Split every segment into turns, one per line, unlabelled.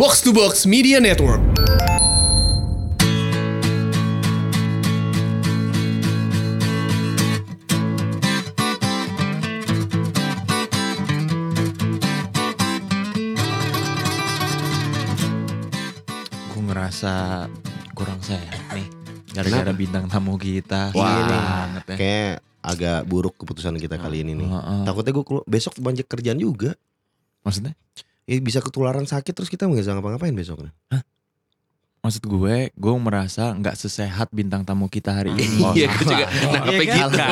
Box to Box Media Network.
Gue ngerasa kurang sehat nih gara-gara bintang tamu kita.
Wah,
Parah banget
Eh.
ya.
Kayaknya agak buruk keputusan kita kali ini nih.
Hmm.
Heeh.
Takutnya gue besok banyak kerjaan juga.
Maksudnya?
Ya bisa ketularan sakit terus kita nggak bisa ngapa-ngapain besoknya.
Maksud gue, gue merasa nggak sesehat bintang tamu kita hari ini.
Iya, gue juga. Nah,
Iya kan?
gitu?
kita.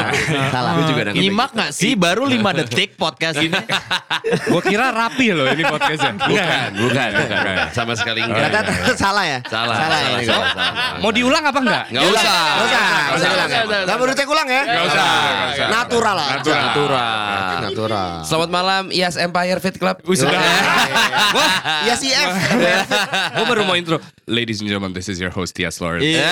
Salah.
Gue juga nangkep
Nyimak gak sih baru 5 detik podcast ini?
Gue kira rapi loh ini podcastnya.
Bukan, bukan, bukan. Sama sekali enggak.
Ternyata salah ya. Salah
Salah, salah,
ini,
salah,
Kak.
salah, salah.
Mau diulang apa enggak?
Nggak usah.
Nggak usah, nggak usah
Nggak
bilang ya.
nggak usah.
Nggak perlu cek ulang ya.
Nggak usah, nggak usah.
Natural lah.
Natural.
Natural.
Natural.
Selamat malam IAS Empire Fit Club.
Ya si F.
Gue baru mau intro. Ladies and gentlemen, this is your host Tias Lawrence. Gila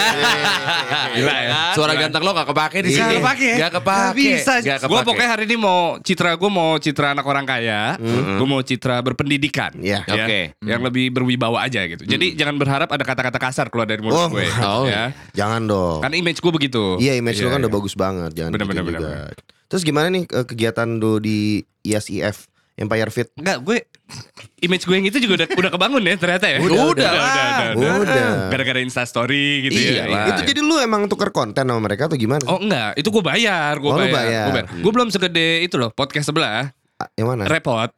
ya.
Suara ganteng lo gak kepake di
Gak
sini.
kepake.
Gak kepake.
Gak bisa.
Gak kepake.
Gue pokoknya hari ini mau citra gue mau citra anak orang kaya. Gue mau citra berpendidikan.
Mm-hmm. Iya. Mm.
ya.
Oke.
Yang lebih berwibawa aja gitu. Jadi jangan berharap ada kata-kata kasar keluar dari
Oh,
mulut gue.
oh.
Ya.
Jangan dong.
Karena image gue begitu.
Iya image lo
Iya,
kan udah
iya.
bagus banget. Jangan
Bener,
gitu
bener,
juga.
bener,
Terus gimana nih eh, kegiatan lo di ISIF Empire Fit?
Enggak, gue image gue yang itu juga udah udah kebangun ya ternyata ya.
Udah,
udah.
Udah. Iya,
Gara-gara Insta story gitu ya.
Iyalah.
Itu jadi lu emang tuker konten sama mereka atau gimana?
Oh enggak, itu gue bayar, gue
Oh, lu
bayar.
bayar.
Gue Gua belum segede itu loh, podcast sebelah.
Ah, Yang mana?
Repot.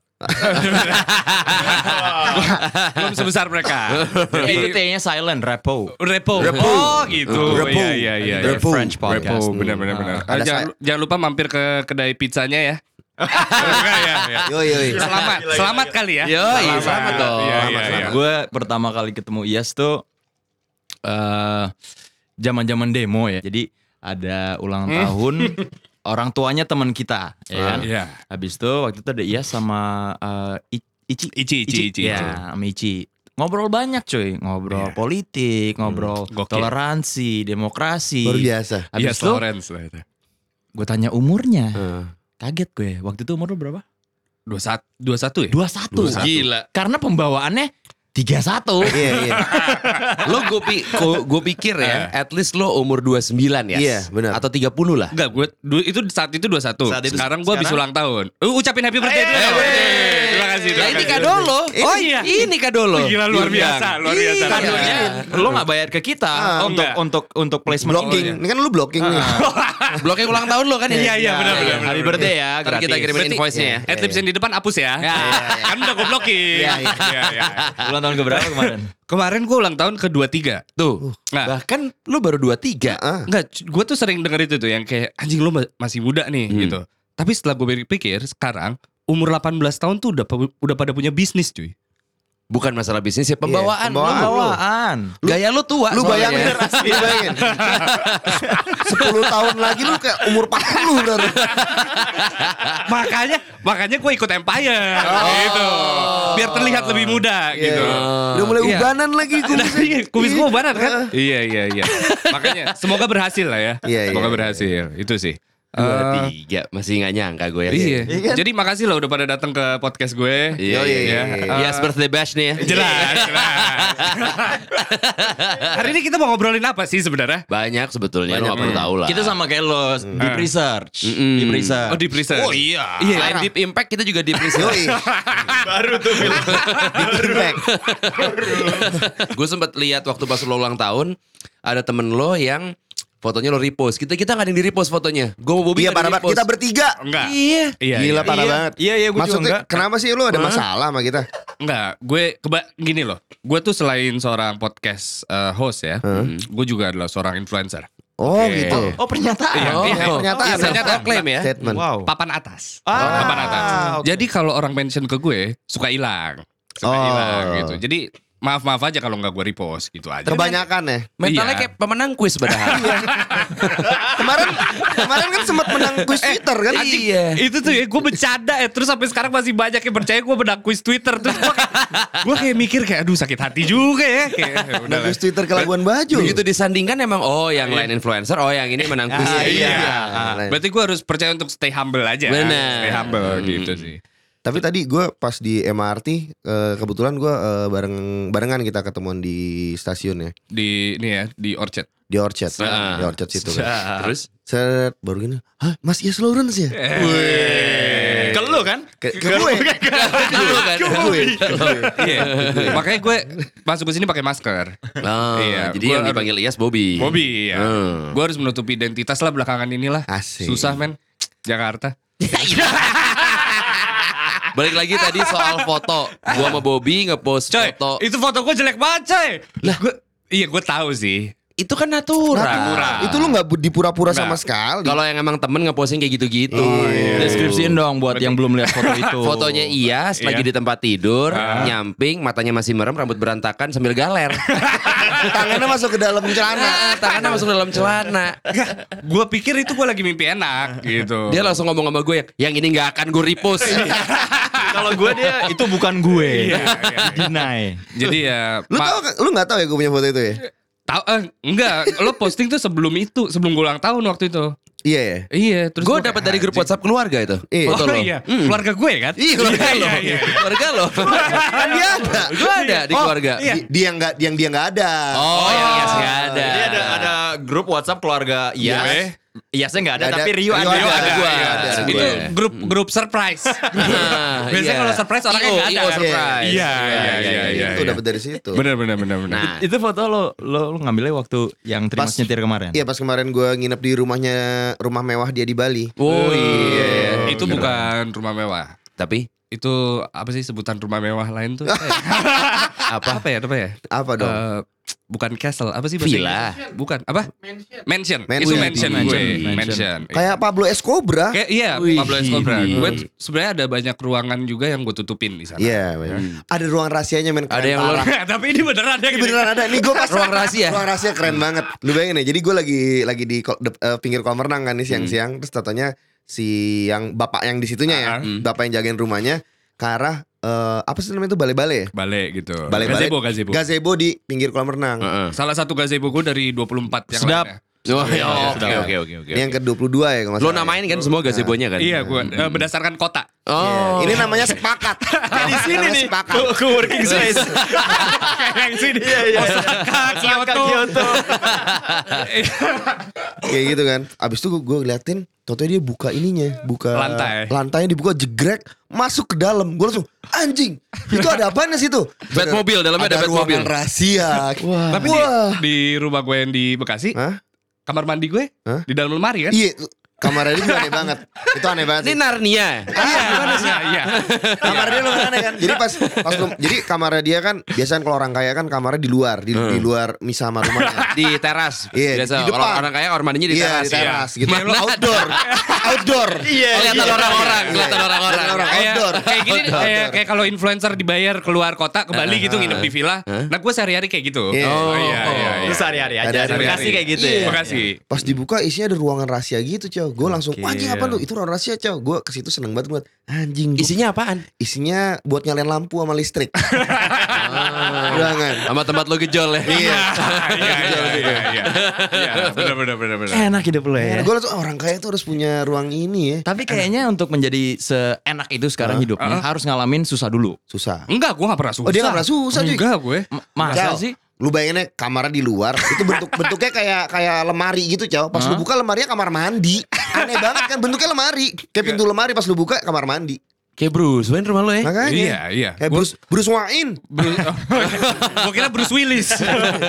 belum sebesar mereka.
itu
Jadi,
T-nya silent, repo.
repo. Oh gitu.
Repo.
Iya, iya, iya. iya.
Repo. French podcast.
Repo, benar, benar, benar.
Ada
jangan, jangan lupa mampir ke kedai pizzanya ya. Enggak, ya, ya.
Yoi yoi.
Selamat, selamat kali ya.
Yo,
Selamat.
selamat dong.
Iya, iya, iya.
Gue pertama kali ketemu Ias tuh eh, zaman-zaman demo ya. Jadi ada ulang
Hmm.
tahun orang tuanya teman kita, ya kan?
Iya.
Habis itu waktu itu ada Ias sama eh, I- Ici.
Ici, Ici, Ici, Ici. Iya.
Ya, sama Ici. Ngobrol banyak cuy, ngobrol politik, ngobrol
Hmm, Gokil.
toleransi, demokrasi.
Luar biasa.
Iya,
Habis itu
Lawrence lah itu.
gue tanya umurnya,
Eh,
kaget gue. Waktu itu umur lu berapa?
21 21 ya?
21.
Gila.
Karena pembawaannya 31.
Iya iya.
Lo gue pi gue pikir ya, at least lo umur 29 ya.
Iya, benar.
Atau 30 lah.
Enggak, gue du- itu saat itu 21.
Saat itu-
sekarang gue habis ulang tahun. Uh, ucapin happy birthday dulu. dong. Terima kasih.
Nah,
terima
ini
kasih.
kado lo. Oh iya. Ini kado lo.
Gila luar
Diundang.
biasa, luar biasa. Kan
Iya.
Kadonya lo nggak bayar ke kita untuk
enggak.
untuk untuk placement
Blocking. Ini kan lu blocking nih.
Bloknya ulang tahun lo kan ya.
Iya, iya, benar, benar. Kan
Hari birthday ya,
Ntar kita
gratis.
kirimin
Berarti-
invoice-nya ya.
At least yang di depan hapus ya. kan udah gue blokin.
Iya, iya.
Iya, iya.
Ulang tahun keberapa kemarin?
Kemarin gue ulang tahun ke 23.
Tuh.
Nah,
Bahkan lo baru 23.
Ah.
enggak, gue tuh sering denger itu tuh yang kayak anjing lo ma- masih muda nih gitu. Tapi setelah gue pikir sekarang umur 18 tahun tuh udah pe- udah pada punya bisnis cuy.
Bukan masalah bisnis ya, pembawaan.
pembawaan.
Lo-
Bawaan.
Gaya lo tua.
Lu
ya.
soalnya.
bayangin, lu bayangin. 10 tahun lagi lu kayak umur 40 berarti.
makanya makanya gue ikut Empire gitu. Biar terlihat lebih muda
Iya,
gitu.
iya. Udah mulai
Iya.
ubanan lagi kumisnya.
Iya, kumis gue banget kan? Iya iya iya. Makanya semoga berhasil lah ya.
Iya,
semoga
iya,
berhasil. Itu sih. Eh,
23. Masih nggak nyangka gue ya.
iya.
Iya kan?
Jadi makasih lah udah pada datang ke podcast gue.
Iya, iya, iya.
iya.
Yes, birthday bash nih ya.
Jelas, jelas. Hari ini kita mau ngobrolin apa sih sebenarnya?
Banyak sebetulnya, lo
Banyak,
gak perlu
hmm.
tahu lah. Iya.
Kita sama kayak lo, deep research,
Mm-mm.
deep research.
Oh, di present.
Oh iya. Selain Deep Impact, kita juga Deep Research.
Yoi.
Baru tuh film.
Impact.
gue sempat lihat waktu pas lo ulang tahun, ada temen lo yang fotonya lo repost. Kita kita nggak ada yang di repost fotonya. Gue mau Bobby
Iya
nggak
parah
ada yang
banget.
di-repost.
Kita bertiga.
Enggak.
Iya.
Iya.
Gila
iya.
parah
Iya.
banget.
Iya, iya, gua juga
Maksudnya
enggak.
kenapa sih lu ada masalah sama kita?
Enggak, gue keba gini loh. Gue tuh selain seorang podcast eh, host ya, gue juga adalah seorang influencer.
Oh gitu.
Oh pernyataan.
Oh,
iya.
Ternyata
iya,
ada.
ternyata klaim ya.
Statement.
Wow.
Papan atas.
Ah,
papan atas.
oke.
Jadi kalau orang mention ke gue, suka hilang. Suka
Oh.
hilang gitu. Jadi maaf-maaf aja kalau nggak gue repost gitu aja.
Kebanyakan ya.
Mentalnya
Iya.
kayak pemenang kuis padahal.
Kemarin kemarin kan sempat menang kuis Twitter kan?
Anjing, Itu tuh ya gue bercanda ya Terus sampai sekarang masih banyak yang percaya gue menang kuis Twitter Terus gue kayak, gue kayak mikir kayak aduh sakit hati juga ya Kayak udah
Menang kuis Twitter ke Labuan Bajo.
Begitu disandingkan emang oh yang lain influencer, oh yang ini menang kuis.
Ah, iya.
ya.
Berarti gue harus percaya untuk stay humble aja
Benar.
Hmm.
Stay humble gitu sih
Tapi tadi gue pas di MRT eh, kebetulan gue eh, bareng barengan kita ketemuan di stasiun ya
di ini ya di Orchard.
di Orchard,
Ah.
di Orchard situ kan.
Terus?
Set baru gini, hah Mas Yes Lawrence ya?
Ke lu kan?
Ke, ke gue,
Dulu kan?
ke gue.
Iya. Makanya gue masuk ke sini pakai masker.
Ah,
Iya,
jadi
gua
yang
harus-
dipanggil Ias Bobby.
Iya.
Bobby ya.
Hmm.
Gue harus menutupi identitas lah belakangan inilah.
Asik.
Susah men. Jakarta.
Balik lagi tadi soal foto. Gua sama Bobby ngepost
Coy,
foto.
Eh, itu foto gue jelek banget, coy. Lah, gue iya gue tahu sih.
Itu kan natural.
Natural.
Itu lu nggak bu- dipura-pura sama
Nggak.
sekali.
Kalau yang emang temen ngeposting kayak gitu-gitu. Iya.
iya. Deskripsiin dong buat yang belum lihat foto itu.
Fotonya Ias lagi di tempat tidur, nyamping, matanya masih merem, rambut berantakan sambil galer.
tangannya masuk ke dalam celana.
Celana, tangannya masuk dalam celana.
Gue pikir itu gue lagi mimpi enak gitu.
Dia langsung ngomong sama gue yang ini nggak akan gue repost.
Kalau gue dia itu bukan gue.
Iya, iya.
Deny.
Jadi ya
Lu
ma-
tau nggak- lu nggak tahu ya gue punya foto itu ya?
tahu eh, enggak, lo posting tuh sebelum itu, sebelum gue ulang tahun waktu itu.
Iya ya.
Iya, terus
gue
gua
dapat
kayak,
dari grup
"Anjing."
WhatsApp keluarga itu.
Iya.
Foto
Oh
lo. Hmm.
iya, keluarga gue kan?
Iya, keluarga lo.
iya, iya.
Keluarga lo.
Kan dia ada.
Gue ada di
Oh,
keluarga.
iya.
Di- Dia yang nggak yang dia nggak ada. iya,
Oh, yang Ias nggak ada.
Jadi ada Iya, ada grup WhatsApp keluarga
Gue.
Ias. Iya. Iasnya nggak ada,
Nggak ada.
tapi Rio,
Rio
ada.
Iya,
ada.
ada,
gua,
iya,
ada
ada.
gua.
Itu grup grup surprise.
Nah,
Biasanya
iya.
kalau surprise orangnya
IO,
nggak ada.
IO surprise.
Iya, iya, iya, iya.
Itu dapat dari situ.
Benar benar benar benar.
Nah,
Itu foto lo lo, lo ngambilnya waktu yang terima
Pas-
nyetir kemarin.
Iya pas kemarin gue nginep di rumahnya rumah mewah dia di Bali.
oh iya.
itu
Bener.
bukan rumah mewah.
Tapi
Itu apa sih sebutan rumah mewah lain tuh? apa? Apa ya? Apa ya?
Apa dong?
Eh, bukan castle, apa sih
Villa.
Inggris? Bukan, apa? Mansion.
Mansion.
Itu
Mansion.
mansion, gue.
Mansion.
Mansion.
eh,
Kayak Pablo Escobar.
Kayak iya,
Wih.
Pablo Escobar.
Iya.
Gue sebenarnya ada banyak ruangan juga yang gue tutupin di sana.
Iya. bener. Ada ruang rahasianya men.
ada
Keren
yang lo
parah.
Tapi ini beneran ya.
Ini beneran ada. Nih gue pas
Ruang rahasia.
Ruang rahasia keren banget. Lu bayangin ya. Jadi gue lagi lagi di kol- dep- eh, pinggir kolam renang kan nih
Hmm.
siang-siang. Terus katanya si yang bapak yang di situnya ya,
Hmm.
bapak yang jagain rumahnya ke arah eh, apa sih namanya itu bale-bale ya?
Balik gitu.
Balik-balik.
Gazebo, gazebo.
Gazebo di pinggir kolam renang.
Heeh.
Salah satu gazebo gue dari 24 yang
Sedap.
lainnya.
Oh, iya,
sudah.
Oke oke oke oke.
Nah, Ini yang ke-22 ya kalau nggak
Lo
salah.
namain kan semua gazebo-nya kan?
Iya, gue
Hmm.
eh, berdasarkan kota.
Iya.
Oh.
Ini namanya sepakat. Di sini nih. Sepakat. Iya.
working space.
yang sini.
iya,
Osaka, Kyoto.
Kayak gitu kan. Abis itu gue ngeliatin Taunya dia buka ininya, buka
Lantai.
lantainya dibuka jegrek, masuk ke dalam. Gue langsung anjing. Itu ada apaan sih itu?
Batmobile, dalamnya ada Batmobile.
ruangan rahasia. Wah.
Tapi di, di rumah gue yang di Bekasi,
Hah?
kamar mandi gue
Hah?
di dalam lemari kan?
Iya, kamarnya dia juga aneh banget. Itu aneh banget.
Ini
sih.
Narnia.
Iya, iya, iya.
kamarnya dia lumayan aneh kan. Jadi pas pas lu- jadi kamarnya dia kan biasanya kalau orang kaya kan kamarnya di luar, di, di luar misah sama rumahnya.
di teras.
Iya,
Biasa
di depan.
orang orang kaya orang mandinya di
Iya,
teras.
di teras gitu.
Mana
Outdoor. Outdoor.
Iya, kelihatan
iya.
orang-orang,
Iya,
kelihatan
iya.
orang-orang.
Kelihatan orang.
Kayak-
Outdoor.
Kayak gini
Outdoor.
kayak, kayak kalau influencer dibayar keluar kota ke Bali gitu nginep di villa. Nah, gue sehari-hari kayak gitu.
Iya.
Oh, iya,
Oh.
iya, iya.
Itu sehari-hari aja.
Ada
Terima
Sehari-hari.
kasih kayak gitu
Iya.
ya.
Bekasi.
Pas dibuka isinya ada ruangan rahasia gitu, Cow. Gue langsung, "Wah, anjing apa lu? Itu ruangan rahasia, Cow." Gue ke situ seneng banget gue. Anjing. gua-
Isinya apaan?
isinya buat nyalain lampu sama listrik. Ruangan.
Ah. Sama tempat lo gejol ya.
Iya.
Iya, iya, iya, iya. Iya, benar benar benar benar.
Enak hidup lo ya.
Gue langsung "Ah, orang kaya tuh harus punya ruang ini ya.
Tapi kayaknya untuk menjadi seenak itu sekarang hidupnya harus ngalamin susah dulu.
Susah.
Enggak, gue gak pernah susah.
Oh, dia nggak pernah susah, cuy.
Enggak, gue.
M- Masa
Cal,
sih?
Lu bayanginnya kamarnya di luar, itu bentuk bentuknya kayak kayak lemari gitu, Cow. Pas lu buka lemarinya kamar mandi. Aneh banget kan bentuknya lemari. Kayak pintu lemari pas lu buka kamar mandi.
Kayak Bruce Wayne rumah
Eh,
lo ya.
Makanya.
Iya, iya.
Kayak Bruce, Bruce Wayne.
Bruce, gue kira Bruce Willis.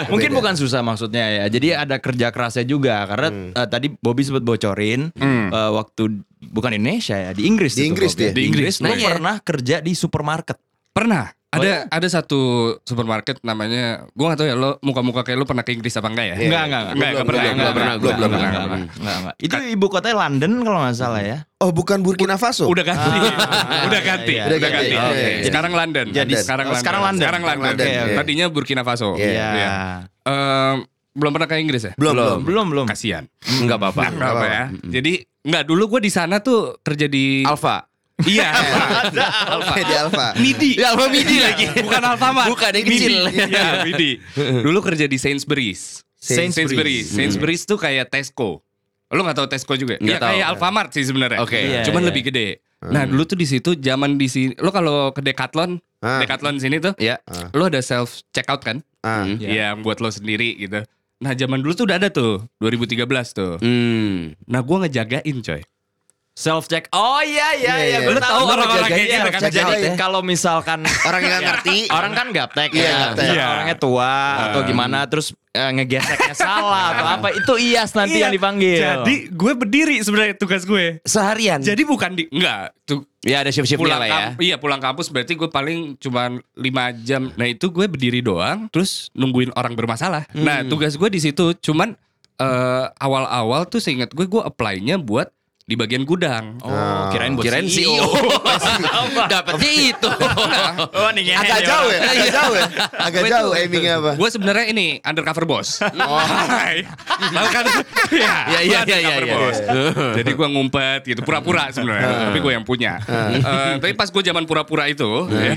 Mungkin bukan susah maksudnya ya. Jadi ada kerja kerasnya juga karena eh, tadi Bobby sempat bocorin eh, waktu bukan Indonesia ya, di Inggris
Di
itu,
Inggris
Bob,
dia.
ya. Di Inggris. Lu
Nah, iya.
pernah kerja di supermarket.
Pernah. Ada ada satu supermarket namanya gue gak tahu ya lo muka-muka kayak lo pernah ke Inggris apa enggak ya?
Enggak, enggak, enggak.
enggak, enggak pernah,
belum,
enggak pernah,
belum pernah,
enggak
belum
pernah,
pernah.
enggak pernah.
Enggak, enggak. Itu ibu kotanya London kalau nggak salah ya.
Oh, bukan Burkina Faso.
Udah ganti, udah ganti,
iya,
udah
iya,
ganti.
iya, iya, iya.
Sekarang London.
Jadi
Oh, sekarang London.
oh, sekarang London.
Sekarang London.
London,
iya.
Tadinya Burkina Faso.
Iya.
Iya. Ehm, belum pernah ke Inggris ya?
Belum, belum.
Belum, belum.
Kasihan.
Enggak apa-apa.
Enggak apa ya. Jadi enggak dulu gue di sana tuh kerja di
Alfa.
Iya.
Alpha. Di Alpha.
Midi.
Ya, Alfa Midi lagi.
Bukan Alfamart.
Bukan, yang kecil.
Midi. Iya, Midi. Dulu kerja di Sainsbury's.
Sainsbury's.
Sainsbury's. Sainsbury's tuh kayak Tesco. Lo gak tahu Tesco juga?
Nggak
Iya
tahu.
kayak Alfamart sih sebenarnya.
Oke.
Iya,
Cuman
iya.
lebih gede. Nah dulu tuh di situ zaman di sini, lo kalau ke Decathlon,
Ah,
Decathlon sini tuh,
Ya. Hmm.
lo ada self checkout kan?
ah.
Ya.
Yang buat lo sendiri gitu. Nah zaman dulu tuh udah ada tuh, 2013 tuh.
Hmm.
Nah gua ngejagain coy.
Self check. Oh iya iya
Iya,
iya.
iya.
Gue
Lu
tahu
tahu
orang-orang
ngejagain
kayak gitu
self
kan.
check
Jadi
out ya.
kalau misalkan
Orang yang nggak ngerti.
orang kan gaptek
Iya,
ya.
gaptek.
Misalkan
Iya.
Orangnya tua atau
Hmm.
gimana terus eh, ngegeseknya salah atau apa itu ias nanti
Iya,
yang dipanggil.
Jadi gue berdiri sebenarnya tugas gue.
Seharian.
Jadi bukan di enggak tuh
ya ada shift-shiftnya
pulang
Hmm. lah ya.
kamp- iya pulang kampus berarti gue paling cuman 5 jam. Nah itu gue berdiri doang terus nungguin orang bermasalah. Nah tugas gue di situ cuman eh, awal-awal tuh seingat gue gue apply-nya buat di bagian gudang. E
Oh, kirain buat
Kirain E CEO. Dapatnya itu.
Oh, nih,
Agak jauh ya, agak
Iya.
jauh ya. Agak
Gue tuh-
jauh aimingnya apa.
Gue sebenarnya ini undercover boss. Oh. kan ya,
Ya, ya,
gua
ya, ya,
undercover
ya.
boss. Jadi gue ngumpet gitu, pura-pura sebenarnya. tapi gue yang punya. Eh, tapi pas gue zaman pura-pura itu, ya.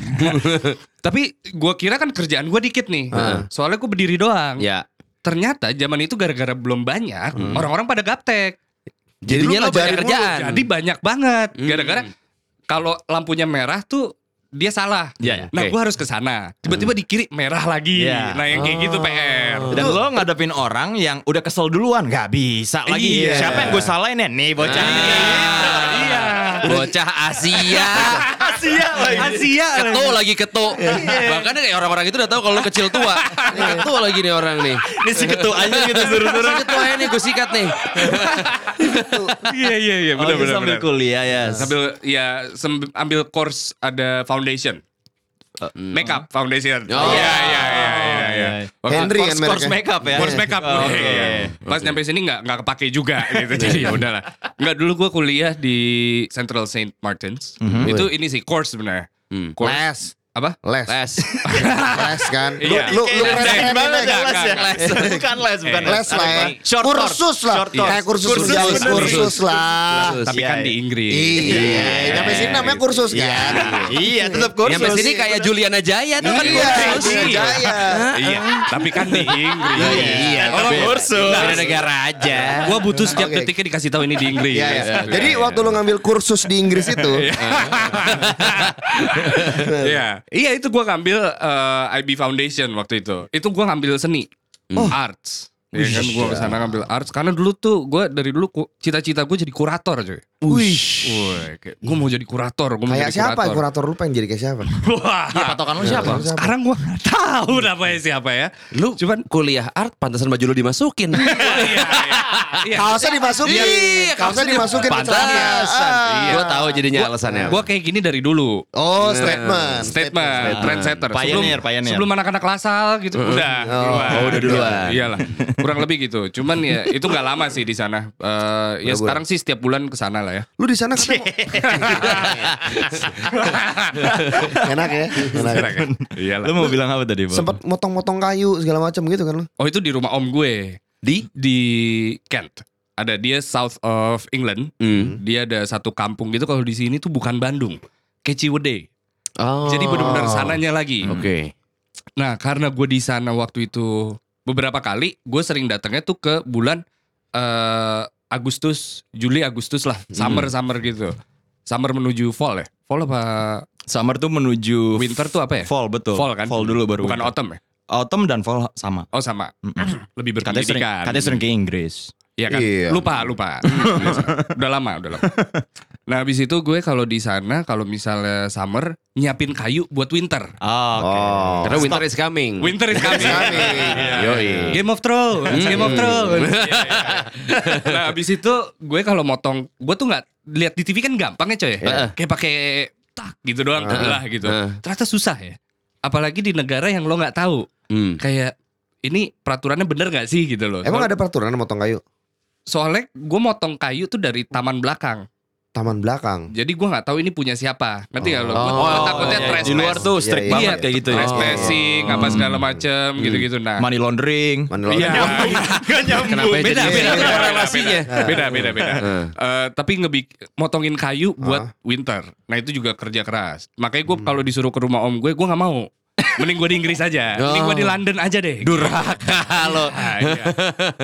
tapi gue kira kan kerjaan gue dikit nih. Soalnya gue berdiri doang.
ya.
Ternyata zaman itu gara-gara belum banyak, orang-orang pada gaptek.
Jadinya
lu
lo banyak
ngajarin
kerjaan.
Jadi banyak banget. Hmm. Gara-gara kalau lampunya merah tuh dia salah.
Iya, iya.
Nah,
Oke.
gua harus ke sana. Tiba-tiba di kiri merah lagi.
Iya. Oh.
Nah, yang kayak gitu PR.
Dan lo ngadepin orang yang udah kesel duluan Gak bisa lagi
Iya.
Siapa yang gue salahin ya Nih bocah
Nah. Ah.
Iya.
Bocah Asia.
Asia
Asia.
Ketuk lagi ketuk.
Iya.
Bahkan kayak orang-orang itu udah tahu kalau lu kecil tua. Ini ketuk lagi nih orang nih.
Ini si ketua aja gitu suruh-suruh
Orang ketua ini gue sikat nih.
Iya, iya, iya,
Oh
benar
dia
benar.
sambil
benar.
kuliah ya
Sambil ya sem- ambil course ada foundation. Makeup foundation.
Oh.
Iya, iya, iya, iya, iya. Waktu-
Henry kan
Course, course
mereknya.
makeup ya
Course makeup.
Oh,
Iya, iya. Pas nyampe sini nggak nggak kepake juga gitu. Jadi ya udahlah. Nggak dulu gue kuliah di Central Saint Martins. Itu ini sih course sebenarnya. Course.
Les,
Apa?
les,
Les.
les kan. Lu,
Iya.
lu, lu
Les,
ngerasain
les,
banget
les,
ya.
les,
Les ya? Bukan les Bukan
Les lah ya.
Short course.
Kursus lah.
Short course.
Kayak kursus
Kursus,
berjalan,
bener.
kursus lah.
Kursus.
Tapi
Iya,
kan
iya.
di Inggris.
Iya, nyampe sini namanya kursus kan.
Iya tetap kursus
Nyampe sini kayak Juliana Jaya tuh kan
Iya,
kursus.
iya, Jaya.
Iya, tapi kan di Inggris.
Iya,
Oh,
tapi- kursus.
Beda negara aja.
Gua butuh setiap
Oke.
detiknya dikasih tahu ini di Inggris.
Iya, iya. Jadi waktu lu ngambil kursus di Inggris itu,
Iya. Iya, itu gua ngambil eh, IB Foundation waktu itu. Itu gua ngambil seni. Arts. Iya kan gua kesana ngambil arts karena dulu tuh gua dari dulu ku- cita-cita gue jadi kurator cuy.
wih,
Woi, kayak, gua mau jadi kurator, gua mau
kayak
jadi
siapa
kurator.
kurator lu pengen jadi kayak siapa?
Wah.
Patokan lu siapa?
Siapa?
Sekarang gua nggak tahu namanya siapa ya.
Lu cuman kuliah art pantasan baju lu dimasukin.
Iya, iya.
Kaosnya dimasukin.
Iya,
kaosnya
kaosnya
dimasukin ke celana.
pantasan.
Ah.
Iya. Gua tahu jadinya alasannya.
Gua kayak gini dari dulu.
Oh, statement.
statement, trendsetter.
Pioneer,
sebelum,
pioneer.
sebelum anak-anak lasal gitu udah duluan.
Hmm. oh, udah duluan.
Iyalah. Kurang lebih gitu. Cuman ya itu nggak lama sih di sana. Eh, ya sekarang sih setiap bulan ke sana lah ya.
Lu di sana ketemu. Enak ya. Enak.
Iyalah.
Iya
Lu mau bilang apa tadi Bob?
Sempet motong-motong kayu segala macam gitu kan lu.
Oh, itu di rumah om gue
Di?
di Kent. Ada dia south of England.
Hmm.
Dia ada satu kampung gitu kalau di sini tuh bukan Bandung. Kayak Ciwedey.
Oh.
Jadi benar-benar sananya lagi.
Oke.
Nah, karena gue di sana waktu itu beberapa kali, gue sering datangnya tuh ke bulan eh, Agustus, Juli Agustus lah,
Hmm.
summer summer gitu, summer menuju fall ya, fall apa
Summer tuh menuju
winter tuh apa ya?
Fall betul
Fall kan?
Fall dulu baru
Bukan
winter.
autumn ya?
Autumn dan fall sama
Oh sama, lebih
Katanya sering,
berpendidikan.
katanya sering ke Inggris
Iya kan?
Iya.
Lupa, lupa. udah lama, udah lama. Nah, habis itu gue kalau di sana kalau misalnya summer nyiapin kayu buat winter.
Oke
Karena winter is coming.
Winter is coming. Iya.
Yoi.
Game of Thrones, Game of Thrones. Iya, nah, habis itu gue kalau motong, gue tuh nggak lihat di TV kan gampang ya coy.
Heeh.
Kayak pakai tak gitu doang lah gitu.
Heeh.
Ternyata susah ya. Apalagi di negara yang lo nggak tahu.
Hmm.
Kayak ini peraturannya bener nggak sih gitu loh.
Emang
Soal-
ada peraturan motong kayu?
Soalnya gue motong kayu tuh dari taman belakang.
Taman belakang.
Jadi gue nggak tahu ini punya siapa. Nanti kalau gue gue Oh, takutnya
iya, iya.
trash
Di luar tuh strict
Iya, iya.
banget kayak gitu ya
Trash
Oh.
Trespassing, apa segala macem gitu-gitu. Nah, Iya.
Money laundering
Mana lo?
Gak nyambung.
Kenapa
beda, beda,
jadi- beda,
beda,
beda,
korelasinya.
beda.
Beda, beda, beda.
Heeh.
Eh, tapi ngebik motongin kayu buat winter. Nah, itu juga kerja keras. Makanya gue kalau disuruh ke rumah om gue, gue nggak mau. Mending gue di Inggris aja.
Oh.
Mending gue di London aja deh.
Durhaka lo.
Ah, iya.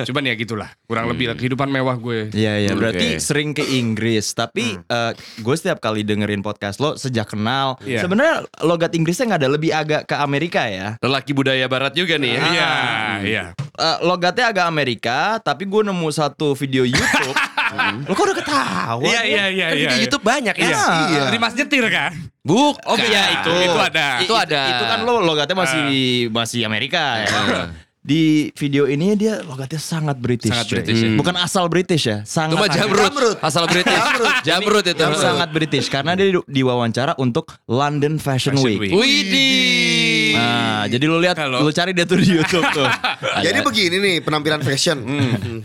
Cuman ya gitulah. Kurang lebih lah kehidupan mewah gue.
Iya iya
Oke.
berarti sering ke Inggris tapi
Hmm.
eh, gue setiap kali dengerin podcast lo sejak kenal
Iya.
sebenarnya logat Inggrisnya nggak ada lebih agak ke Amerika ya
Lelaki budaya barat juga nih ya.
Iya, iya.
Eh, logatnya agak Amerika tapi gue nemu satu video YouTube lo kok udah ketawa
Iya, iya, iya,
Kan
iya.
video YouTube banyak ya.
Iya.
Iya. Dari Mas Nyetir kan?
Buk.
Oh iya itu
Itu ada. Ah. Iya.
I- itu ada itu kan lo logatnya masih masih Amerika ya di video ini dia logatnya sangat British
Sangat
cuy.
British, ya.
bukan asal British ya sangat
Itu mah jamrut.
Jamrut.
Asal British. jamrut itu.
Yang sangat British karena dia di- diwawancara untuk London Fashion,
Fashion
Week.
Week.
Widih.
Nah, jadi lu lihat,
Halo.
lu cari dia tuh di YouTube tuh.
Jadi
Iya.
Ada-
begini nih penampilan fashion.
Hmm.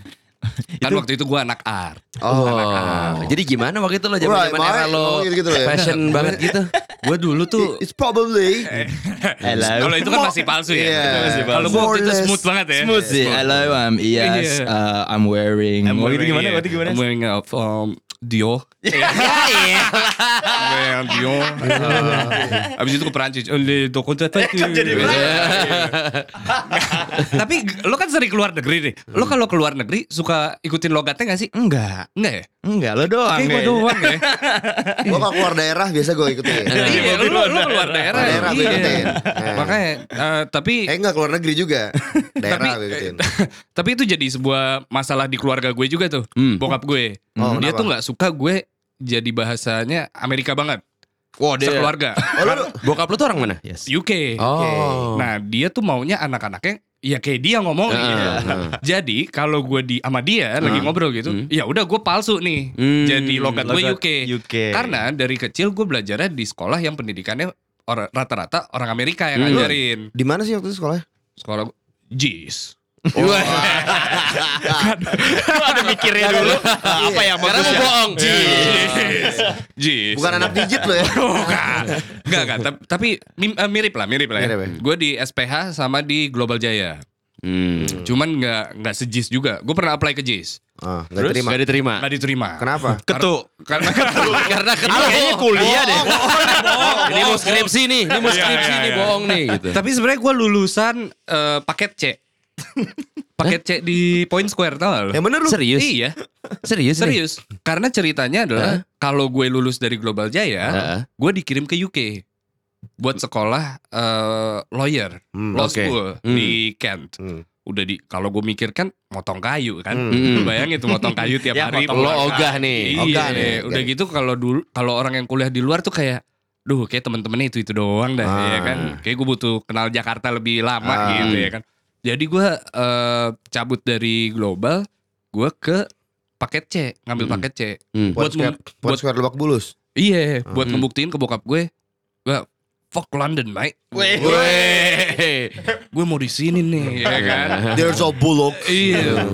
Kan waktu itu gue anak art.
Oh.
Oh. Jadi gimana waktu itu lo zaman zaman
Right,
era
Mike.
lo
Ngomongin gitu lo ya.
fashion banget gitu.
Gue dulu tuh
It's probably
hello.
kalau itu kan masih palsu ya.
Iya.
Itu masih palsu. Kalau gue waktu itu smooth banget ya.
smooth sih. Hello, I'm yes,
Iya.
uh, I'm wearing.
I'm
Mau gitu
wearing
gimana?
it.
Mau gitu gimana?
I'm wearing a um, Dior. I'm wearing Dior. Uh, Abis itu ke Perancis. Oh, le- toko tata itu. Tapi g- lo kan sering keluar negeri nih. Lo kalau keluar negeri suka ikutin logatnya gak sih?
Enggak,
Enggak ya?
enggak lo doang.
Kayak gue
kayaknya.
doang ya.
Gua kalau keluar daerah biasa gue ikutin. Eh,
Iya, lu, lu keluar daerah.
Keluar daerah, gue
iya.
ikutin.
Makanya, eh, tapi
Eh enggak keluar negeri juga. Daerah gue ikutin.
eh, tapi itu jadi sebuah masalah di keluarga gue juga tuh.
Hmm.
Bokap gue.
Oh,
dia
kenapa?
tuh nggak suka gue jadi bahasanya Amerika banget.
Wah, dia.
Sekeluarga.
Oh, lu,
Bokap lo tuh orang mana?
Yes.
UK.
ya? Oh.
Nah, dia tuh maunya anak-anaknya ya kayak dia ngomong
Nah,
gitu.
Heeh.
Jadi kalau gue di sama dia lagi ngobrol gitu,
Hmm.
ya udah gue palsu nih.
Hmm.
Jadi logat gue
Logat
UK.
UK.
Karena dari kecil gue belajarnya di sekolah yang pendidikannya orang- rata-rata orang Amerika yang
Hmm.
ngajarin.
di mana sih waktu itu sekolah?
Sekolah gue, jis.
ada mikirnya dulu. Iya. Apa
ya?
yang
Karena mau bohong.
Jis.
Bukan anak digit lo ya.
Bukan. Ah, Enggak, enggak. Tap- Tapi mim- eh, mirip lah, mirip lah ya.
Mirip ya.
Gue di SPH sama di Global Jaya.
Hmm.
Cuman nggak nggak sejis juga. Gue pernah apply ke JIS.
Ah, enggak
Terus
terima.
gak diterima.
Nggak diterima.
Kenapa?
Ketuk.
Karena kan
Karena ketemu.
kuliah deh.
Ini mau skripsi nih, ini mau
Iya,
skripsi
iya,
nih
iya.
bohong nih gitu.
Tapi sebenarnya gue lulusan eh, paket C. paket C di Point Square tau gak lo?
Yang bener lu.
Eh, Serius?
Iya,
Serius? nih?
serius. Karena ceritanya adalah kalau gue lulus dari Global Jaya,
Heeh.
gue dikirim ke UK buat sekolah eh, lawyer,
Hmm,
law
oke.
school
Hmm.
di Kent.
Hmm.
Udah di kalau gue mikir kan motong kayu kan.
Hmm.
Lu bayangin tuh motong kayu tiap
Ya,
hari.
motong
pulang
lo
kan.
ogah nih.
Iya,
Ogah nih, ogah.
udah gitu kalau dulu kalau orang yang kuliah di luar tuh kayak duh kayak temen-temennya itu itu doang dah ya
Ah.
kan. Kayak gue butuh kenal Jakarta lebih lama
Ah.
gitu ya kan. Jadi gue eh, cabut dari global, gue ke paket C, ngambil
Hmm.
paket C.
Hmm.
Buat
Buat
square,
mem-
buat
buat-
square Lebak Bulus.
Iya, buat
Hmm.
ngebuktiin ke bokap gue, gue fuck London, mate.
Weh.
Weh. gue mau di sini nih, ya kan.
There's a bullock.
Iya.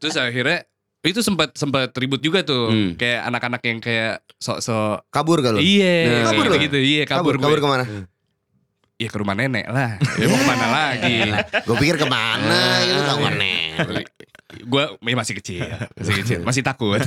Terus akhirnya itu sempat sempat ribut juga tuh,
Hmm.
kayak anak-anak yang kayak sok-sok
Kabur kalau.
Iya,
Nah.
Kabur
kabur
lu?
gitu. Iya, kabur,
Kabur, kabur
gue.
kemana?
Iya, ke rumah nenek lah. Ya mau kemana lagi?
Gue pikir kemana? gitu, Itu tahu
gue ya, masih kecil, masih kecil, masih takut.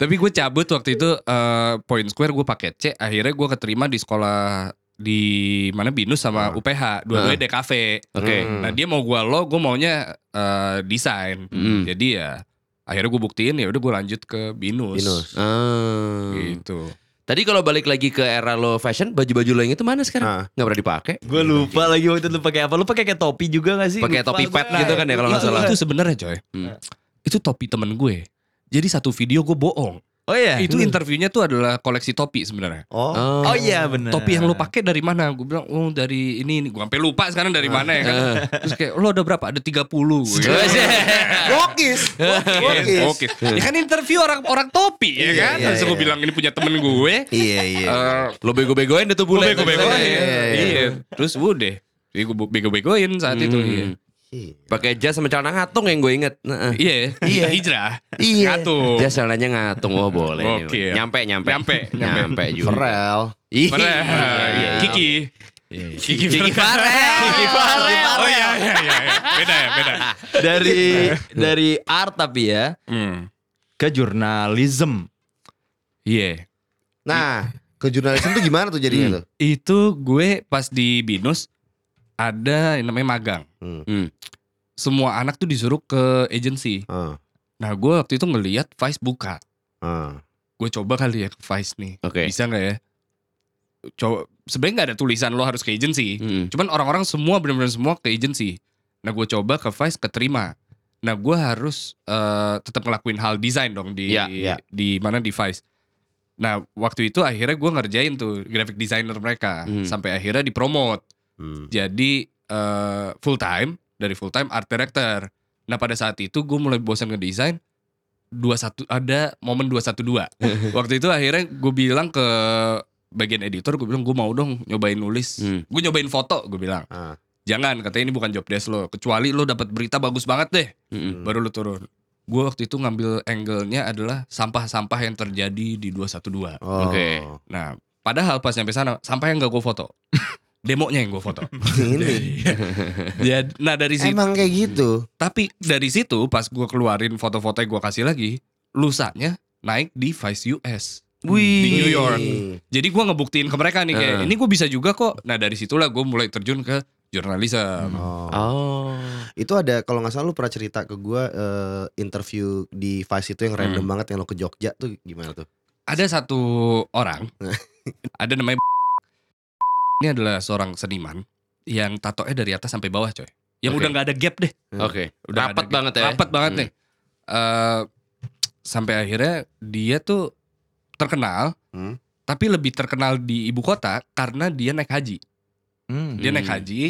Tapi gue cabut waktu itu eh, Point Square gue pakai C. Akhirnya gue keterima di sekolah di mana Binus sama UPH dua-duanya DKV.
Oke.
Nah dia mau gue lo, gue maunya eh, desain.
Hmm.
Jadi ya akhirnya gue buktiin ya udah gue lanjut ke Binus.
Binus.
Ah.
Gitu.
Tadi kalau balik lagi ke era lo fashion, baju-baju lo yang itu mana
Ah.
sekarang? Nggak pernah dipakai.
Gue lupa lagi waktu itu lu pakai apa? Lu pakai kayak topi juga gak sih?
Pakai
Lupa
topi
gua. Nah,
pet gitu kan ya kalau nggak
Itu-
salah.
Itu sebenarnya coy.
Hmm.
Itu topi temen gue. Jadi satu video gue bohong.
Oh iya.
Eh,
Itu interviewnya tuh adalah koleksi topi sebenarnya.
Oh.
Oh iya
Nah.
benar.
Topi yang lo pakai dari mana? Gue bilang, oh dari ini, ini. Gue sampai lupa sekarang
Ah.
dari mana ya kan. Terus kayak, lo ada berapa? Ada 30. Gue.
Iya.
Gokis. Gokis.
Oke. Ya kan interview orang orang topi ya
Iya,
kan.
iya,
Terus gue
iya.
bilang ini punya temen gue.
Iya iya.
Eh,
Lo bego-begoin deh tuh
gue
bule.
bego-begoin.
Iya, iya, iya.
Iya. Terus udah. Jadi gue bego-begoin saat itu.
Hmm.
Iya.
Pakai jas sama celana ngatung yang gue inget. Nah, eh.
Iya. Iya. Hijrah.
Iya.
Ngatung.
Jas celananya ngatung, oh boleh.
Oke.
Nyampe, nyampe.
Nyampe, nyampe.
Nyampe juga.
Farel.
Ih.
Farel. Iya, Kiki. Kiki
Iya, Kiki
Iya,
Farel.
Kiki Farel. Oh iya iya iya. iya. Beda ya, beda.
dari
Oh, iya.
dari art tapi ya
Hmm.
ke jurnalism.
Iya. Hmm.
Nah, ke jurnalisme tuh gimana tuh jadinya tuh?
Itu gue pas di Binus ada yang namanya magang.
Hmm.
Hmm. Semua anak tuh disuruh ke agensi.
Ah,
Nah gue waktu itu ngeliat Vice buka.
ah.
Gue coba kali ya ke Vice nih.
Oke.
Bisa nggak ya? Coba sebenarnya nggak ada tulisan lo harus ke agensi.
Mm-mm.
Cuman orang-orang semua benar-benar semua ke agensi. Nah gue coba ke Vice keterima. Nah gue harus eh, tetap ngelakuin hal desain dong di
Ya,
ya.
di mana di Vice. Nah waktu itu akhirnya gue ngerjain tuh graphic designer mereka
Hmm.
sampai akhirnya dipromot
Hmm.
jadi eh, full time dari full time art director. Nah pada saat itu gue mulai bosan ngedesain 21 ada momen 212. Waktu itu akhirnya gue bilang ke bagian editor gue bilang gue mau dong nyobain nulis.
Hmm.
Gue nyobain foto gue bilang.
Ah.
Jangan katanya ini bukan job desk lo kecuali lo dapat berita bagus banget deh
Hmm.
Mm-mm.
baru lo turun. Gue waktu itu ngambil angle-nya adalah sampah-sampah yang terjadi di 212.
Oh.
Oke.
Nah, padahal pas nyampe sana sampah yang gak gue foto. Demonya yang gue foto.
Ini.
Ya, nah dari situ,
Emang kayak gitu.
tapi dari situ pas gua keluarin foto-foto yang gue kasih lagi, lusanya naik di Vice US. Di New York.
Iya.
Jadi gua ngebuktiin ke mereka nih kayak
Eh.
ini gue bisa juga kok. Nah dari situlah gue mulai terjun ke jurnalisme.
Oh.
Oh.
Itu ada kalau nggak salah lu pernah cerita ke gua eh, interview di Vice itu yang random banget yang lo ke Jogja tuh gimana tuh?
Ada satu orang, ada namanya ini adalah seorang seniman yang tatonya dari atas sampai bawah coy. Yang
Oke.
Ya udah nggak ada gap deh.
Oke.
Udah
Rapat
ada-
banget ya.
Rapat banget
Hmm.
nih. Eh, sampai akhirnya dia tuh terkenal,
Hmm.
tapi lebih terkenal di ibu kota karena dia naik haji.
Hmm.
Dia
Hmm.
naik haji,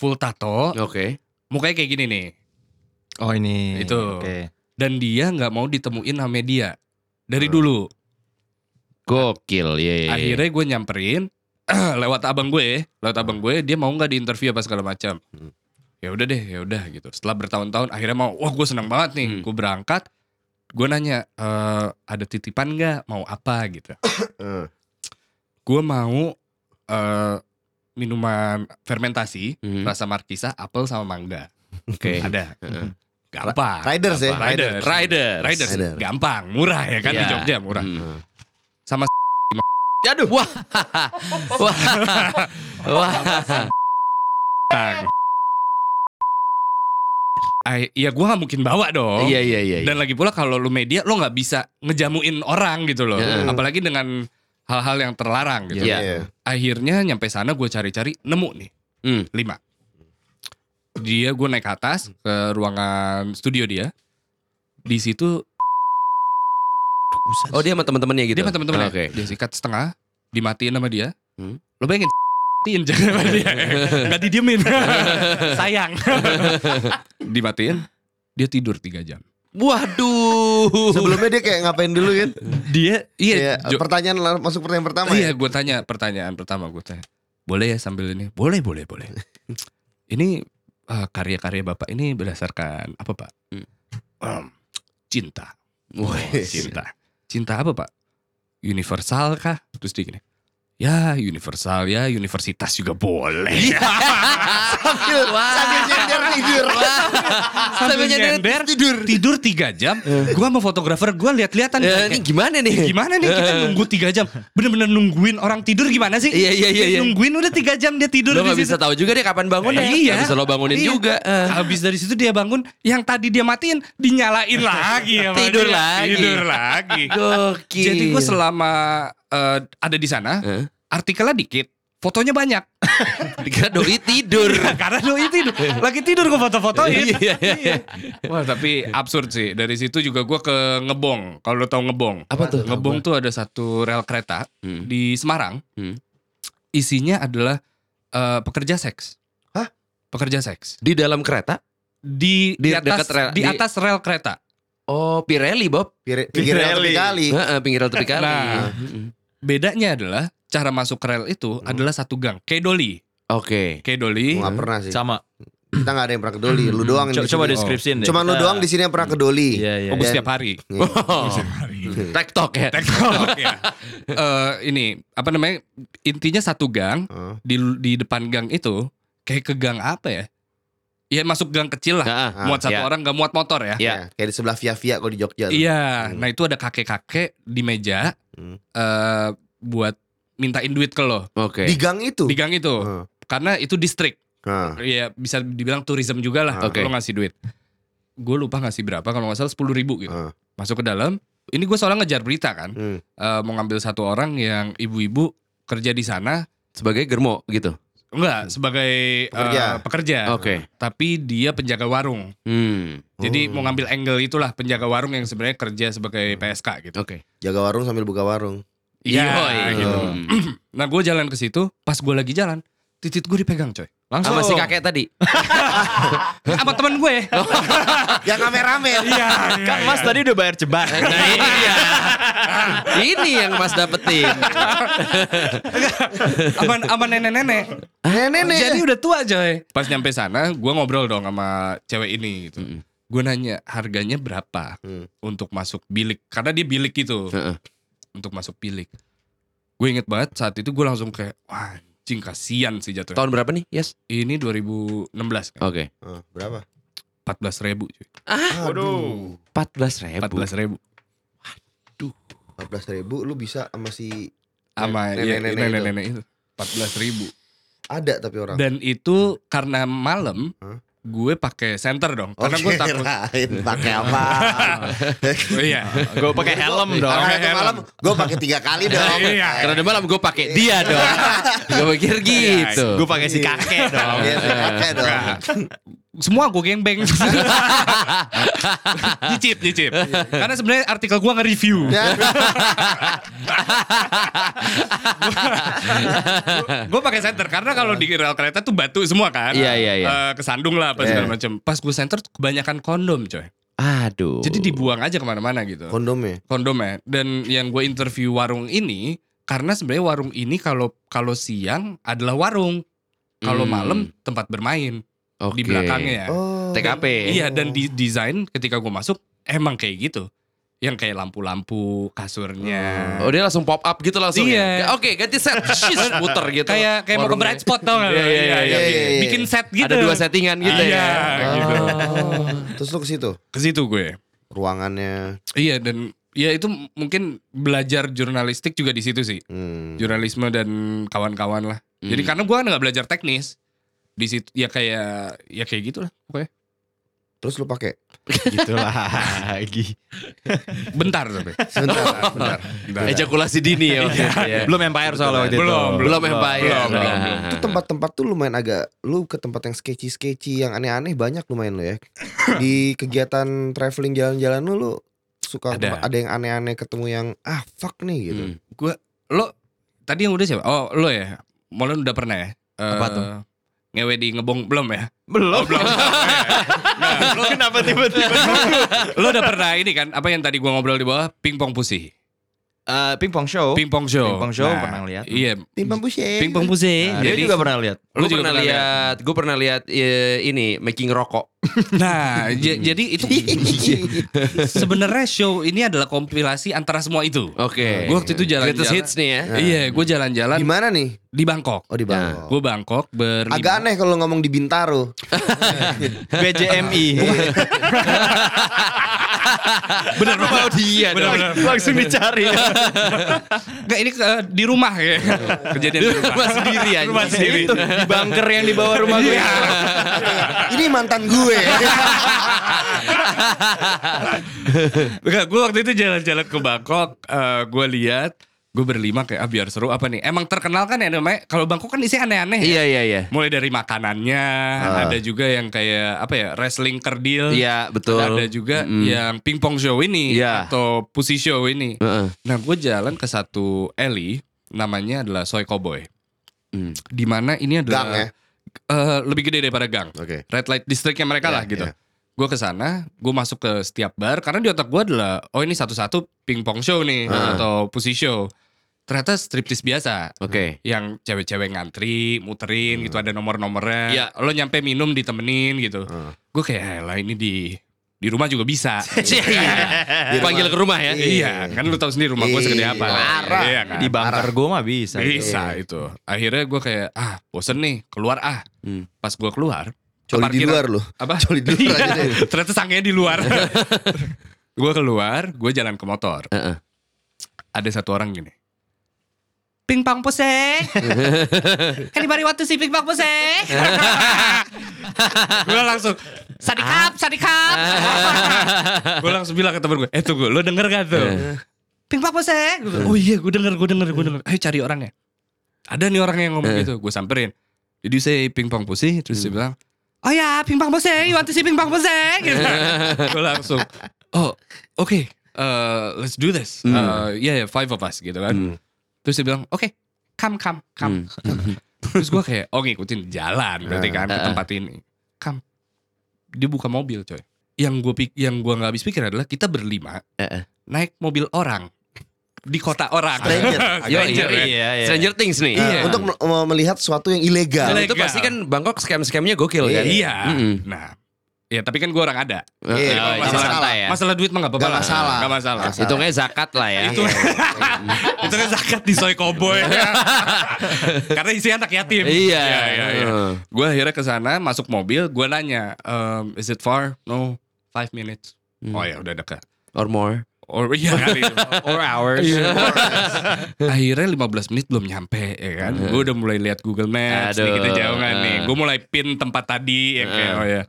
full tato,
Oke.
mukanya kayak gini nih.
Oh ini.
Itu.
Oke.
Dan dia nggak mau ditemuin sama media
Hmm.
dari dulu.
Gokil, ya.
Akhirnya gue nyamperin lewat abang gue, lewat abang gue dia mau nggak diinterview apa segala macam.
Hmm.
Ya udah deh, ya udah gitu. Setelah bertahun-tahun akhirnya mau, wah gue senang banget nih.
Hmm.
Gue berangkat, gue nanya "Eh, ada titipan nggak, mau apa gitu.
Heeh.
Gue mau eh, minuman fermentasi
Hmm.
rasa markisa, apel sama mangga.
Oke.
Ada.
Heeh.
Gampang.
Riders ya,
Gampang. Riders.
Riders.
Riders.
Riders.
Gampang, murah ya kan di
Iya.
Jogja murah.
Hmm.
Sama
Aduh. Wah. Wah. Wah.
Tang. Ay, ya gue gak mungkin bawa dong.
Iya iya iya. iya.
Dan lagi pula kalau lu media, lu nggak bisa ngejamuin orang gitu loh.
Iya.
Apalagi dengan hal-hal yang terlarang gitu.
Iya.
Akhirnya nyampe sana gue cari-cari, nemu nih,
Hmm.
lima. Dia gue naik ke atas ke ruangan studio dia. Di situ
Oh dia sama teman-temannya gitu.
dia sama temen-temennya.
Oke.
Dia sikat setengah, dimatiin sama dia.
Hmm.
Lo bayangin, dimatiin jangan sama dia. Nggak didiemin. Sayang. dimatiin, dia tidur tiga jam.
Waduh.
Sebelumnya dia kayak ngapain dulu kan?
Dia,
Iya,
iya. Jo-
pertanyaan la- masuk pertanyaan pertama
iya,
ya.
gue tanya pertanyaan pertama gue tanya. Boleh ya sambil ini? Boleh, boleh, boleh. ini eh, karya-karya bapak ini berdasarkan apa pak?
Hmm.
Em, cinta. Oh,
Wah.
cinta. Cinta apa pak? Universal kah? Terus dia gini. Ya universal ya universitas juga boleh.
Iya.
Sambil, sambil nyender tidur.
Sambil nyender
tidur tidur tiga jam. gua sama fotografer gua lihat-lihatan.
Eh, ini gimana nih?
Gimana nih kita nunggu tiga jam? Bener-bener nungguin orang tidur gimana sih?
Iya, iya, iya, iya.
Nungguin udah tiga jam dia tidur
Lo
di
gak bisa
situ.
tahu juga dia kapan bangunnya.
Iya.
Gak bisa lo bangunin
Iya.
juga. Eh.
Habis dari situ dia bangun, yang tadi dia matiin dinyalain lagi sama
Tidur
dia.
lagi. Iya.
Tidur lagi.
Gokil.
Jadi gue selama eh, ada di sana,
Eh?
artikelnya dikit, fotonya banyak.
Dikira doi tidur.
Karena doi tidur, lagi tidur gue foto-fotoin.
Iya, iya, iya.
Wah tapi absurd sih. Dari situ juga gue ke Ngebong. Kalau lo tau Ngebong,
Apa tuh?
Ngebong tuh ada satu rel kereta
Hmm.
di Semarang.
Hmm.
Isinya adalah eh, pekerja seks.
Hah?
Pekerja seks
Di dalam kereta?
di di,
Di
atas
dekat rel-
di
di-
atas rel kereta.
Oh Pirelli Bob.
Pir- Pinggirnya
Pirelli.
kali.
Heeh, pinggir rel tepi kali.
Nah.
Heeh.
Bedanya adalah cara masuk ke rel itu adalah satu gang. Kayak Doli,
Oke.
kayak Doli.
Gua nggak pernah sih.
Sama.
Kita nggak ada yang pernah ke Doli, lu doang.
Co-
di
coba
sini.
deskripsiin deh.
Cuman lu
Kita-
doang di sini yang pernah ke Doli.
Iya iya.
Oh, gua
iya.
setiap hari.
Oh. Tektok ya.
Tektok ya. Eh, ini apa namanya? Intinya satu gang
Heeh.
di di depan gang itu kayak ke gang apa ya? Ya masuk gang kecil lah.
Nah,
muat satu
ya.
orang gak muat motor ya.
Iya.
Ya, kayak di sebelah Via Via kalau di Jogja. tuh.
Iya,
Hmm.
nah itu ada kakek-kakek di meja
Hmm.
eh buat mintain duit ke lo
Oke.
Di gang itu.
di gang itu.
Heeh.
Karena itu distrik.
Nah.
ya bisa dibilang tourism juga lah
Oke.
lo ngasih duit gue lupa ngasih berapa kalau nggak salah sepuluh ribu gitu
Ah.
masuk ke dalam ini gue soalnya ngejar berita kan
Hmm.
Eh, mau ngambil satu orang yang ibu-ibu kerja di sana
Sebagai germo gitu.
enggak sebagai eh,
Pekerja.
pekerja
Oke.
tapi dia penjaga warung
Hmm.
jadi mau ngambil angle itulah penjaga warung yang sebenarnya kerja sebagai PSK gitu
Oke.
Jaga warung sambil buka warung.
iya
Yoi.
gitu
Hmm.
nah gue jalan ke situ pas gue lagi jalan titit gue dipegang coy
Langsung.
Sama si kakek tadi.
apa teman gue
Yang kameramen.
iya
Kang Mas tadi udah bayar ceban.
Nah ini dia. ini yang Mas dapetin.
aman aman nenek-nenek.
Nenek-nenek.
Jadi udah tua coy. Pas nyampe sana, gua ngobrol dong sama cewek ini gitu.
Mm.
Gue nanya harganya berapa
Hmm.
untuk masuk bilik, karena dia bilik gitu,
Heeh.
untuk masuk bilik. Gue inget banget saat itu gue langsung kayak, wah anjing kasihan sih jatuh.
Tahun berapa nih? Yes.
Ini 2016 kan,
Oke.
Ah, berapa?
14 ribu
Iya,
cuy.
Aduh.
14 ribu.
14 ribu.
14 ribu lu bisa sama si
Sama ya,
Iya, Nenek-nenek itu.
nenek-nenek itu. 14 ribu.
ada tapi orang.
Dan itu karena malam,
Hah?
gue pakai center dong. Karena gue
Oke,
takut.
kirain Oh, iya, pakai apa?
Oh, iya.
Gue pakai helm dong.
Karena itu malam gue Iya. pakai tiga kali dong.
eh, Iya.
Karena udah malam gue pakai dia dong. gue pikir gitu.
Gue pakai si kakek dong.
Iya, si kakek dong.
semua gue gengbeng nyicip nyicip karena sebenarnya artikel gue nge-review
Dan
gue pakai senter karena kalau di rel kereta tuh batu semua kan
Iya, iya, iya.
Eh, kesandung lah apa segala macam pas gue senter tuh kebanyakan kondom coy
Aduh.
jadi dibuang aja kemana-mana gitu
kondomnya.
kondom ya dan yang gue interview warung ini karena sebenarnya warung ini kalau kalau siang adalah warung kalau
Hmm.
malam tempat bermain di
Oke.
belakangnya
Oh.
TKP.
Iya dan di desain ketika gue masuk emang kayak gitu. Yang kayak lampu-lampu kasurnya.
Oh dia langsung pop up gitu langsung
Iya.
ya? Oke ganti set, Shis, puter gitu.
Kayak kayak mau ke
Warungnya.
bright spot tau nggak?
Iya, iya, iya,
iya, iya.
Bikin set gitu.
Ada dua settingan gitu
Iya,
ya.
gitu.
Oh.
Terus lu ke situ
Ke situ gue.
ruangannya.
Iya dan ya itu m- mungkin belajar jurnalistik juga di situ sih.
Hmm.
Jurnalisme dan kawan-kawan lah. Jadi
Hmm.
karena gue kan nggak belajar teknis di situ ya kayak ya kayak gitulah pokoknya
Terus lu pakai
Gitu lagi.
bentar tapi
sebentar.
bentar, bentar.
Ejakulasi dini ya. maksudnya.
Belum Empire soalnya waktu itu.
Belum,
belum ya, empire.
belum, belum,
Nah.
belum.
Itu tempat-tempat tuh lumayan agak lu ke tempat yang sketchy-sketchy yang aneh-aneh banyak lumayan lo ya. Di kegiatan traveling jalan-jalan lu lu suka
Ada.
ada, yang aneh-aneh ketemu yang ah fuck nih gitu.
Hmm.
Gua lo tadi yang udah siapa? Oh, lo ya. Molen udah pernah ya?
Apa
Eh,
tuh?
Ngewe di ngebong belum ya?
Belum. Nah,
belum.
Lu kenapa tiba-tiba?
lo udah pernah ini kan apa yang tadi gua ngobrol di bawah pingpong pusih.
Eh, Pingpong show.
Pingpong show.
Pingpong show pernah lihat.
Iya.
Timpang buset.
Pingpong pusih.
Nah, dia juga pernah lihat.
Lu
Gue
juga
pernah
pernah
lihat, gue pernah lihat eh, ini making rokok.
Nah, j- jadi itu sebenarnya show ini adalah kompilasi antara semua itu.
Oke.
Gua waktu itu jalan-jalan.
Greatest hits nih ya.
Iya, gue
Di
jalan-jalan
mana nih?
di Bangkok.
Oh di Bangkok.
Gue Bangkok berlima.
Agak aneh kalau ngomong di Bintaro.
BJMI.
Bener lu mau dia.
Bener,
dong.
bener.
Iya, Langsung dicari.
Nggak, ini eh, di rumah ya. Kejadian di rumah.
Rumah sendiri aja.
Rumah sendiri.
Itu di bunker yang di bawah rumah gue.
Iya.
Ini mantan gue.
Enggak, gue waktu itu jalan-jalan ke Bangkok, eh, gue lihat gue berlima kayak ah biar seru apa nih. Emang terkenal kan ya namanya kalau Bangkok kan isinya aneh-aneh. ya.
Iya iya iya.
Mulai dari makanannya, ada juga yang kayak apa ya wrestling kerdil.
Iya betul.
Ada juga
Mm-mm.
yang pingpong show ini
Iya.
atau pussy show ini.
Heeh.
Nah, gue jalan ke satu alley namanya adalah Soy Cowboy.
Hmm.
Di mana ini adalah
Gang ya?
eh, lebih gede daripada gang
Oke.
red light districtnya mereka
Iya,
lah gitu.
iya.
Gue ke sana, gue masuk ke setiap bar karena di otak gue adalah oh ini satu-satu pingpong show nih atau pussy show. Ternyata striptease biasa
Oke.
yang cewek-cewek ngantri, muterin gitu ada nomor-nomornya.
Iya.
Lo nyampe minum ditemenin gitu.
Hmm.
Gue kayak lah ini di di rumah juga bisa. Eh,
Gitu.
Iya. Panggil ke rumah ya.
iya, kan lu tahu sendiri rumah gue segede apa.
Parah.
Iya kan?
Di bunker gue mah bisa. gitu.
Bisa itu. Akhirnya gue kayak ah bosen nih keluar ah.
Hmm.
Pas gue keluar, ke
Coli di
parkiran-
luar loh.
apa Iya.
Coli di luar aja deh.
ternyata sangnya di luar gue keluar gue jalan ke motor
Heeh.
ada satu orang gini pingpong puse. Kan bari waktu si pingpong puse. gue langsung sadikap, sadikap. gue langsung bilang ke temen gue, eh tunggu, lo denger gak tuh? pingpong puse. Gua bilang, Iya. Oh iya, gue denger, gue denger, gue denger. Ayo cari ya? orangnya. Ada nih orang yang ngomong
Eh.
gitu, gue samperin. Jadi saya pingpong puse, terus dia
Hmm.
bilang, Oh ya, pingpong puse, waktu si pingpong puse. Gitu. gue langsung, oh oke, uh, let's do this.
Hmm.
Uh, yeah, yeah, five of us gitu kan. Terus dia bilang, oke, come, come, come.
Hmm.
Terus gue kayak, oh ngikutin jalan berarti kan
Ah.
ke tempat ini. Come. Dia buka mobil coy. Yang gue pik yang gua nggak habis pikir adalah kita berlima
Eh, eh.
naik mobil orang di kota orang.
Stranger.
Yo,
Stranger,
iya,
ya.
iya. Stranger Things nih.
Iya.
Untuk me- me- melihat sesuatu yang ilegal.
Kalau itu pasti kan Bangkok scam-scamnya gokil kan.
Iya.
Mm-mm.
Nah, ya tapi kan gue orang ada.
Iya,
Oh,
nggak
iya.
masalah.
Masalah duit mah nggak apa-apa.
Nggak
lah.
masalah.
Nggak masalah.
Nggak masalah.
Hitungnya zakat lah ya.
Itu itu kan zakat di soy cowboy. Karena isi anak yatim.
Iya.
iya, iya. Gue akhirnya ke sana masuk mobil, gue nanya, "Ehm, is it far? No, five minutes.
Hmm.
Oh ya udah dekat.
Or more.
Or iya kali. Or hours.
Iya.
akhirnya 15 menit belum nyampe ya kan. Gue udah mulai lihat Google Maps, nih
Hmm. Aduh. hmm.
kita jauhan nih. Gue mulai pin tempat tadi ya kayak oh ya.